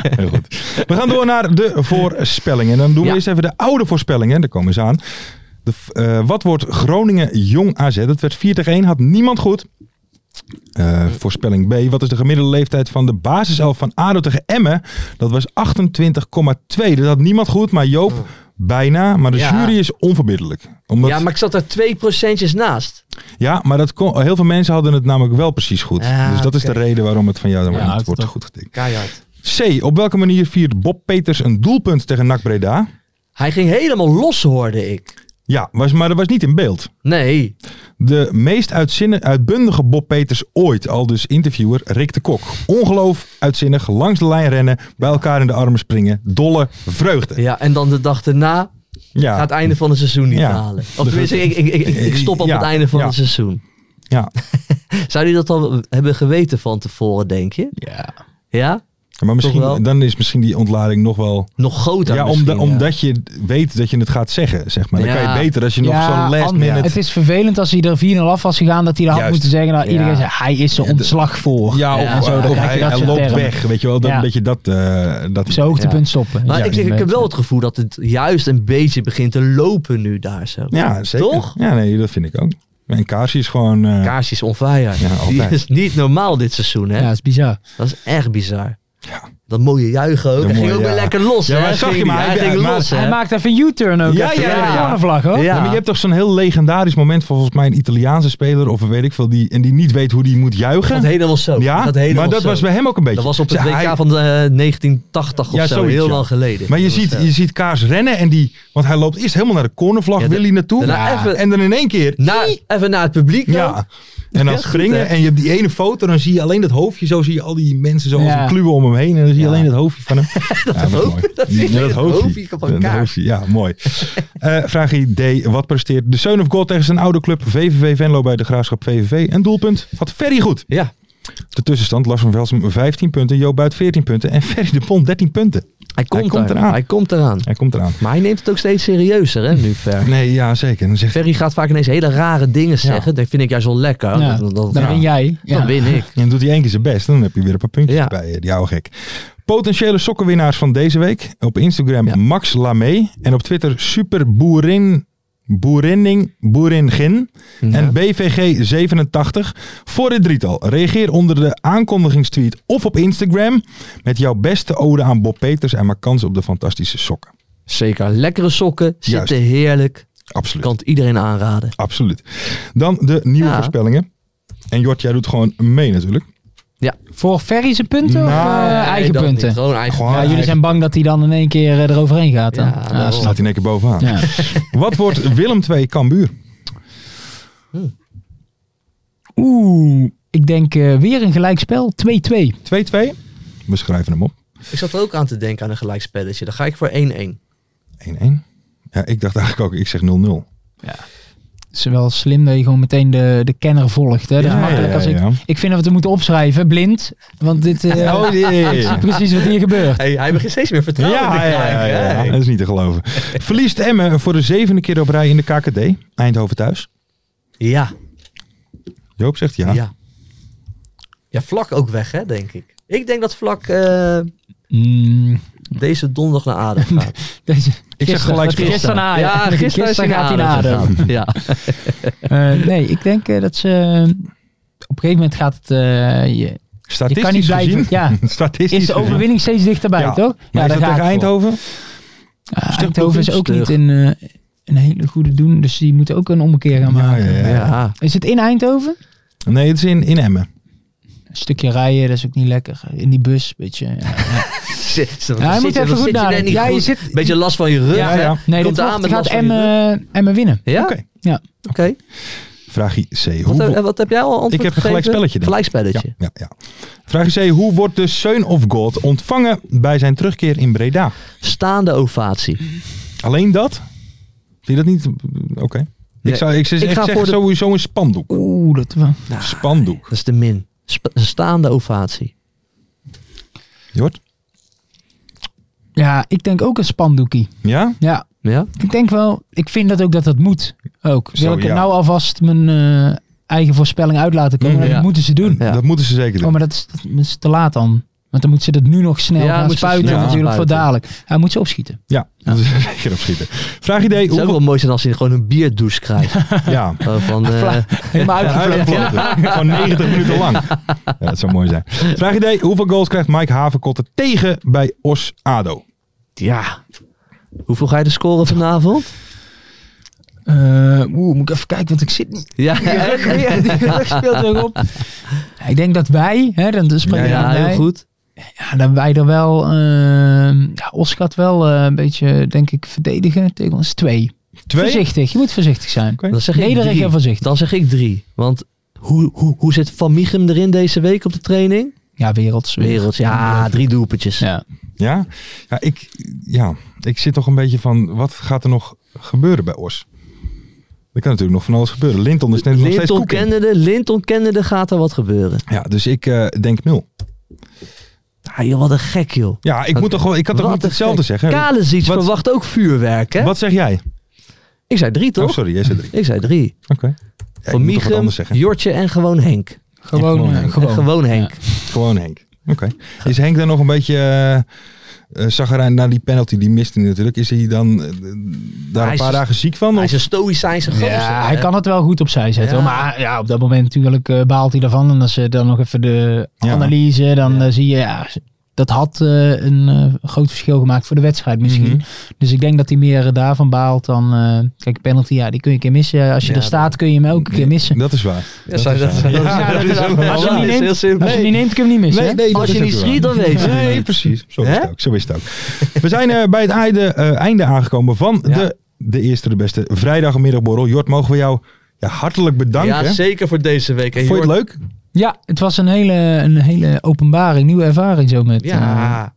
Heel goed. We gaan door naar de voorspellingen. En dan doen we
Ja.
eerst even de oude voorspellingen. Daar komen ze aan. De, v- eh, wat wordt Groningen-Jong AZ? Dat werd 4 tegen 1. Had niemand goed. Eh, voorspelling B. Wat is de gemiddelde leeftijd van de basiself van ADO tegen Emmen? Dat was 28,2. dus Dat had niemand goed. Maar Joop, bijna. Maar de
Oh. Ja.
jury is onverbiddelijk. Omdat,
ja, maar ik zat daar twee procentjes naast.
dat kon, heel veel mensen hadden het namelijk wel precies goed.
Ja,
dus dat is de
Ah, oké.
reden waarom het van jou dan maar
Ja,
niet
het
wordt
toch.
goed getikt.
Keihard.
C. Op welke manier viert Bob Peters een doelpunt tegen NAC Breda?
Hij ging helemaal los, hoorde ik.
Ja, was, maar dat was niet in beeld.
Nee.
De meest uitzinne- uitbundige Bob Peters ooit, al dus interviewer Rick de Kok. Ongeloof, uitzinnig, langs de lijn rennen, bij elkaar in de armen springen, dolle vreugde.
Ja, en dan de dag daarna gaat
Ja,
het einde van het seizoen niet
Ja.
halen. Of tenminste, ik, ik, ik, ik stop op
Ja,
het einde van
ja.
het seizoen.
ja.
Zou die dat al hebben geweten van tevoren, denk je?
Ja.
Ja?
maar
Toch
misschien,
wel?
dan is misschien die ontlading nog wel...
Nog groter
Ja,
misschien,
omdat, omdat je weet dat je het gaat zeggen, zeg maar. Dan
Ja.
kan je beter als je nog
Ja,
zo'n last
André,
minute...
Het is vervelend als hij er 4-0 af was gegaan, dat hij er had
Juist.
moeten zeggen, nou,
Ja.
iedereen zei, hij is er
Ja, de-
ontslag voor.
Ja, of,
Ja, zo, dan
of
krijg je
hij,
dat
hij
soort
loopt
termen.
weg, weet je wel. Dat,
Ja.
Een beetje dat... eh, dat
Op zijn hoogtepunt stoppen.
Maar
Ja.
ik, zeg, ik heb wel het gevoel dat het juist een beetje begint te lopen nu daar zo.
ja, zeker.
Toch?
Ja, nee, dat vind ik ook. En Kasi is gewoon... eh,
Kaasjes is on fire.
Ja, altijd.
Die is niet normaal dit seizoen, hè?
Ja, dat is bizar.
Dat is echt bizar.
Ja.
Dat mooie juichen ook.
Dat
Hij ging
mooie,
ook weer
ja.
lekker los,
Ja,
hè?
maar zag
Ging
je maar,
die-
hij-
Hij ging
maar-
los, hè?
Hij maakt even een U-turn ook.
Ja,
even.
ja,
Met
ja.
de cornervlag, hoor.
Ja,
Ja.
maar je hebt toch zo'n heel legendarisch moment van volgens mij een Italiaanse speler of weet ik veel die en die niet weet hoe die moet
Dat
juichen.
helemaal zo.
Ja,
dat helemaal
maar dat
zo.
was bij hem ook een beetje.
Dat was op het
Ze-
WK
hij-
van eh, 1980 of
Ja,
zo,
zoiets,
heel
ja.
lang geleden.
Maar je
Dat was,
ziet,
eh,
je ziet Kaars rennen en die, want hij loopt eerst helemaal naar de cornervlag,
Ja,
wil
de-
hij naartoe
daarna
Ja.
even-
en dan in één keer.
na, even naar het publiek ook.
Ja. En dan
Ja, goed,
springen
hè?
en je hebt die ene foto, dan zie je alleen dat hoofdje, zo zie je al die mensen zo als
Ja.
een kluwen om hem heen en dan zie je
Ja.
alleen dat hoofdje van hem. dat, ja,
hoofd-
mooi.
dat is
Ja,
het hoofdje van
Dat
Kaars.
hoofdje, Ja, mooi. Eh, vraag D. Wat presteert de Seun of God tegen zijn oude club VVV Venlo bij de Graafschap VVV? Een doelpunt had Ferry goed.
Ja,
De tussenstand, Lars van Velsum 15 punten, Joop Buit 14 punten en Ferry de Pont 13 punten.
hij komt,
komt
er-
eraan.
Hij komt eraan.
Hij komt eraan.
Maar hij neemt het ook steeds serieuzer, hè, nu ver.
Nee, ja zeker. En Dan zegt
Ferry gaat vaak ineens hele rare dingen zeggen. Dat vind ik juist wel lekker.
Ja.
Dat, dat-
Dan
ja.
win jij.
Dan
Ja.
win ik.
en dan doet hij één keer zijn best en dan heb je weer een paar puntjes
Ja.
bij eh, die oude gek. Potentiële sokkenwinnaars van deze week. Op Instagram
Ja.
Max Lamé. En op Twitter Super Boerin, Boerinning Boeringin. En BVG87. Voor dit drietal. Reageer onder de aankondigingstweet of op Instagram. Met jouw beste ode aan Bob Peters en maak kans op de fantastische sokken.
Zeker. Lekkere sokken. Zitten
Juist.
heerlijk.
Absoluut.
Kan het iedereen aanraden.
Absoluut. Dan de nieuwe
Ja.
voorspellingen. En Jort, jij doet gewoon mee natuurlijk.
Voor Ferry zijn punten of
Nou,
eh, eigen
dat
punten?
niet. Gewoon eigen
Gewoon
Ja, jullie zijn bang dat hij dan in één keer eh, eroverheen gaat. hè?
Ja,
Ah,
daarom.
Staat hij in één keer bovenaan.
Ja.
Wat wordt Willem 2 Cambuur?
Oeh, ik denk eh, weer een gelijkspel. 2-2.
2-2? We schrijven hem op.
Ik zat er ook aan te denken aan een gelijkspelletje. Dan ga ik voor 1-1.
1-1. Ja, ik dacht eigenlijk ook, ik zeg 0-0.
Het is wel slim dat je gewoon meteen de, de kenner volgt. Hè? Dat is
Ja,
makkelijk
ja,
als ik...
ja.
Ik vind dat we het moeten opschrijven, blind. Want dit eh,
Oh, jee.
is precies wat hier gebeurt.
Hey, hij begint steeds meer
Ja,
vertrouwen te
ja, ja,
krijgen.
ja,
hè?
dat is niet te geloven. Verliest Emmen voor de zevende keer op rij in de KKD. Eindhoven thuis.
Ja,
Joop zegt ja.
ja, ja. Vlak ook weg, hè, denk ik. Ik denk dat Vlak eh,
Mm,
deze donderdag naar Adem gaat.
deze,
zeg
gisteren-
gelijkspel.
Gisteren, naar Ajax.
Ja, gisteren is hij
gaat hij
naar
naar
Ajax
Adem.
Ja.
Eh, nee, ik denk eh, dat ze... eh, op een gegeven moment gaat het... eh, je,
Statistisch
Je kan niet blijven,
gezien.
ja.
Statistisch
is de overwinning steeds dichterbij,
Ja.
toch?
gezien. Maar is
daar
dat
gaat
tegen
het voor.
Eindhoven?
Ja,
Stuk
Eindhoven is ook
punten.
niet in eh, een hele goede doen. Dus die moeten ook een ommekeer gaan
Ja,
maken.
ja, ja.
ja.
Is het in Eindhoven?
Nee, het is in, in Emmen.
Een stukje rijden, dat is ook niet lekker. In die bus, beetje.
Zit- zit-
Ja, hij
zit-
moet even
zit
goed
je net
nadenken.
niet
Ja, je
goed?
zit-
Beetje last van je rug.
Ja,
hè?
ja.
Nee,
Komt
dit
aan
wordt,
met
gaat
last van je rug.
Emmen, Emmen winnen.
Ja?
Oké.
Oké.
Ja.
Vraagje C.
Wat,
Hoeveel...
heb- wat heb jij al antwoord
Ik heb een
gegeven?
gelijkspelletje, denk ik. Ja,
Gelijkspelletje.
ja, ja. Vraag C. Hoe wordt de Seun of God ontvangen bij zijn terugkeer in Breda?
Staande ovatie.
Alleen dat? Vind je dat niet? Oké.
Nee.
Ik zou ik, zou
Ik
echt
ga
zeggen
voor de- Nou.
sowieso een spandoek.
Oeh, dat wel.
Spandoek.
Dat is de min. Sp- staande ovatie.
Jort?
Ja, ik denk ook een spandoekie.
Ja?
Ja,
Ja?
ik denk wel. Ik vind dat ook dat dat moet. Ook. Wil
Zo,
ik er
ja.
nou alvast mijn eh, eigen voorspelling uit laten komen?
Mm,
dat
ja.
moeten ze doen.
Ja.
Dat moeten ze zeker
Oh,
doen.
maar dat is, dat is te laat dan. Want dan moeten ze dat nu nog snel
Ja,
gaan
moeten ze
spuiten
snel
natuurlijk voor
spuiten.
dadelijk. Hij moet ze opschieten.
Ja, dat is zeker op schieten. Vraag idee.
Het zou ook
Hoeveel...
wel mooi zijn als je gewoon een bierdouche krijgt.
Ja.
Eh, van, eh,
Helemaal uitgevlogen.
Uitgefloten. Gewoon 90 minuten lang. Ja, dat zou mooi zijn. Vraag idee. Hoeveel goals krijgt Mike Havenkotten tegen bij Os Ado?
ja. Hoeveel ga je er scoren vanavond?
Eh, Oeh, moet ik even kijken, want ik zit niet.
Ja,
Die rug, weer, die rug speelt weer op. Ja, Ik denk dat wij, hè, dan dus
ja,
spreken we
heel
wij,
goed.
Ja, dat wij er wel, ehm ja, Os gaat wel eh, een beetje, denk ik, verdedigen tegen ons. Twee.
Twee?
Voorzichtig, je moet voorzichtig zijn.
Oké.
Dan zeg ik
Nederig
drie.
en voorzichtig.
Dan zeg ik drie. Want hoe, hoe, hoe zit Van Michem erin deze week op de training?
Ja, werelds.
Wereld, ja, drie doelpuntjes.
Ja.
Ja? Ja ik, ja, ik zit toch een beetje van, wat gaat er nog gebeuren bij Os? Er kan natuurlijk nog van alles gebeuren. Linton is net nog steeds
Linton
koeking.
kennende, Linton kennende gaat er wat gebeuren.
Ja, dus ik eh, denk nul.
Ah, joh, wat een gek joh.
Ja, ik,
Wat-
moet toch, wel- ik kan toch
wat
niet
een
hetzelfde
gek.
zeggen?
Kalesic
Wat-
verwacht ook vuurwerk hè?
Wat zeg jij?
Ik zei drie toch?
Oh, sorry, jij zei drie.
Ik zei drie.
Oké. Ja, ik
Van
moet toch wat
Michem,
anders zeggen.
Jortje en gewoon Henk. En
Gewoon,
gewoon,
eh,
ja.
gewoon.
gewoon Henk.
Gewoon Henk. Oké. Is Henk dan nog een beetje eh, eh, zaggerijn na die penalty? Die miste hij natuurlijk. Is hij dan eh, daar
Hij
een
is
paar
een-
dagen ziek van?
Hij
Of?
is een stoïcijnse gozer.
Ja,
hè?
hij kan het wel goed opzij zetten.
Ja.
hoor. Maar ja, op dat moment natuurlijk eh, baalt hij ervan. En als je dan nog even de
Ja.
analyse, dan eh, zie je, ja, dat had eh, een eh, groot verschil gemaakt voor de wedstrijd misschien.
Mhm.
Dus ik denk dat hij meer eh, daarvan baalt dan, eh, kijk, penalty, ja, die kun je een keer missen. Als je
Ja,
er staat, kun je hem elke keer missen.
Dat is waar.
Ja, sorry, dat- dat-
Ja, dat is ook wel
Als je
waar.
dat is
hem niet
heel
neemt,
simpel.
als je hem niet neemt kun je hem niet missen. hè?
dat
Als
is
je niet
ook
schiet,
waar.
dan weet je het
Nee,
niet.
precies. Zo is,
Hè?
het ook. Zo is het ook. We zijn eh, bij het einde, eh, einde aangekomen van
Ja.
de, de eerste, de beste vrijdagmiddagborrel. Jort, mogen we jou ja, hartelijk bedanken.
Ja, zeker voor deze week. En
Vond je het
Jordi-
leuk?
Ja, het was een hele, een hele openbaring, nieuwe ervaring zo met eh,
Ja,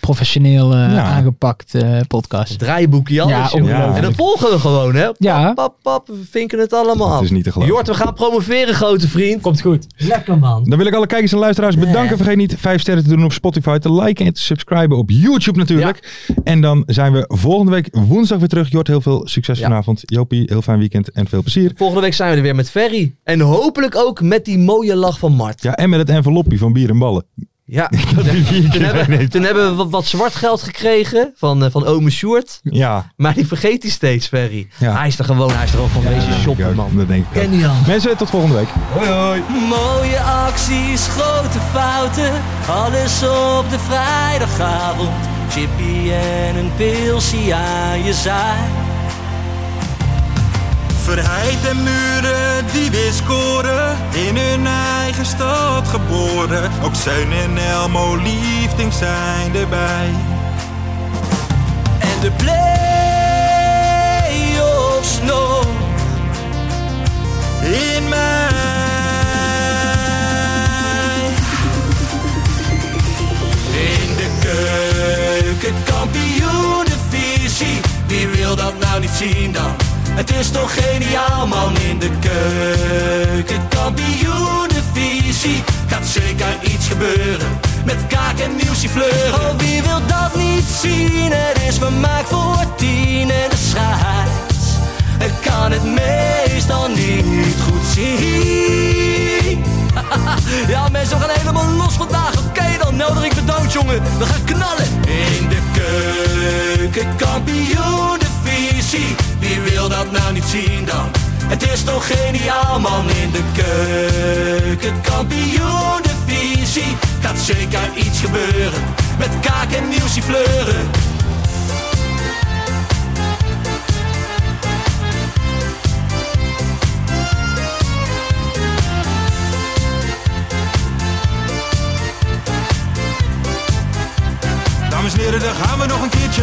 professioneel eh,
Ja.
aangepakt eh, podcast.
draaiboekje alles.
Ja,
joh.
ongelooflijk.
En dat volgen we gewoon, hè? Pap,
Ja.
pap, pap, we vinken het allemaal
Dat
af.
is niet te geloven.
Jort, we gaan promoveren, grote vriend. Komt goed. Lekker, man.
Dan wil ik alle kijkers en luisteraars bedanken. Vergeet niet 5 sterren te doen op Spotify, te liken en te subscriben op YouTube natuurlijk. En dan zijn we volgende week woensdag weer terug. Jort, heel veel succes
Ja.
vanavond. Jopie, heel fijn weekend en veel plezier.
Volgende week zijn we er weer met Ferry. En hopelijk ook met die mooie lach van Mart.
Ja, en met het envelopje van bier en ballen.
Ja.
Dat hij vier
Toen
keer
hebben,
wegneemt.
toen hebben we wat, wat zwart geld gekregen van, eh, van ome Sjoerd.
Ja,
Maar die vergeet hij steeds, Ferry.
Ja.
Hij is er gewoon, hij is er ook van deze shopper,
man.
man.
dat denk ik ook.
Ken die al.
Mensen, tot volgende week.
Mooie acties, grote fouten, alles op de vrijdagavond. Chippy en een pilsie aan je zaai.
Verheid en muren die weer scoren, in hun eigen stad geboren. Ook Zijn en Elmo liefding zijn erbij.
En de play-offs nog.
In mij.
In de keuken, kampioenenvisie. Wie wil dat nou niet zien dan? Het is toch geniaal man in de keuken, kampioenenvisie. Gaat zeker iets gebeuren met kaak en nieuwsie fleuren. Oh, wie wil dat niet zien? Het is vermaakt voor tien en de scheids. Ik kan het meestal niet goed zien. Ja, mensen, we gaan helemaal los vandaag. Oké, dan nodig ik bedankt, jongen. We gaan knallen. In de keuken, kampioenenvisie. Wie wil dat nou niet zien dan? Het is toch geniaal, man. In de keuken, kampioenenvisie. Gaat zeker iets gebeuren. Met kaak en nieuwsie fleuren.
Dames en heren, daar gaan we nog een keertje.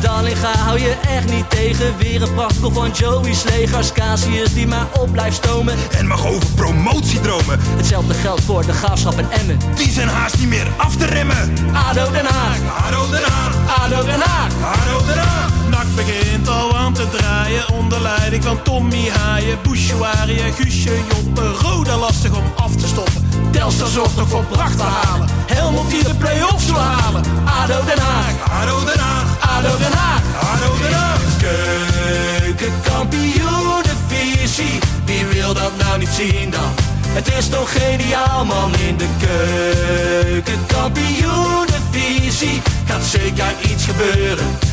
Dallinga Eh, hou je echt niet tegen. Weer een prachtkel van Joey's legers. Casius die maar op blijft stomen.
En mag over promotiedromen,
Hetzelfde geldt voor de graafschap en Emmen.
die zijn haast niet meer af te remmen.
ADO Den Haag,
Haro Den Haag,
ADO Den Haag.
Haro Den Haag.
Nak begint al aan te draaien onder leiding van Tommy Haaien, Bouchouari en Guusje Joppen. Roda lastig om af te stoppen. Telstar zorgt nog voor pracht te halen. Helmond die de play-offs wil halen.
ADO Den Haag,
Haro Den Haag,
ADO Den Haag.
Haro Den Haag.
Keukenkampioenenvisie, wie wil dat nou niet zien dan? Het is toch geniaal man in de keukenkampioenenvisie. Gaat zeker iets gebeuren,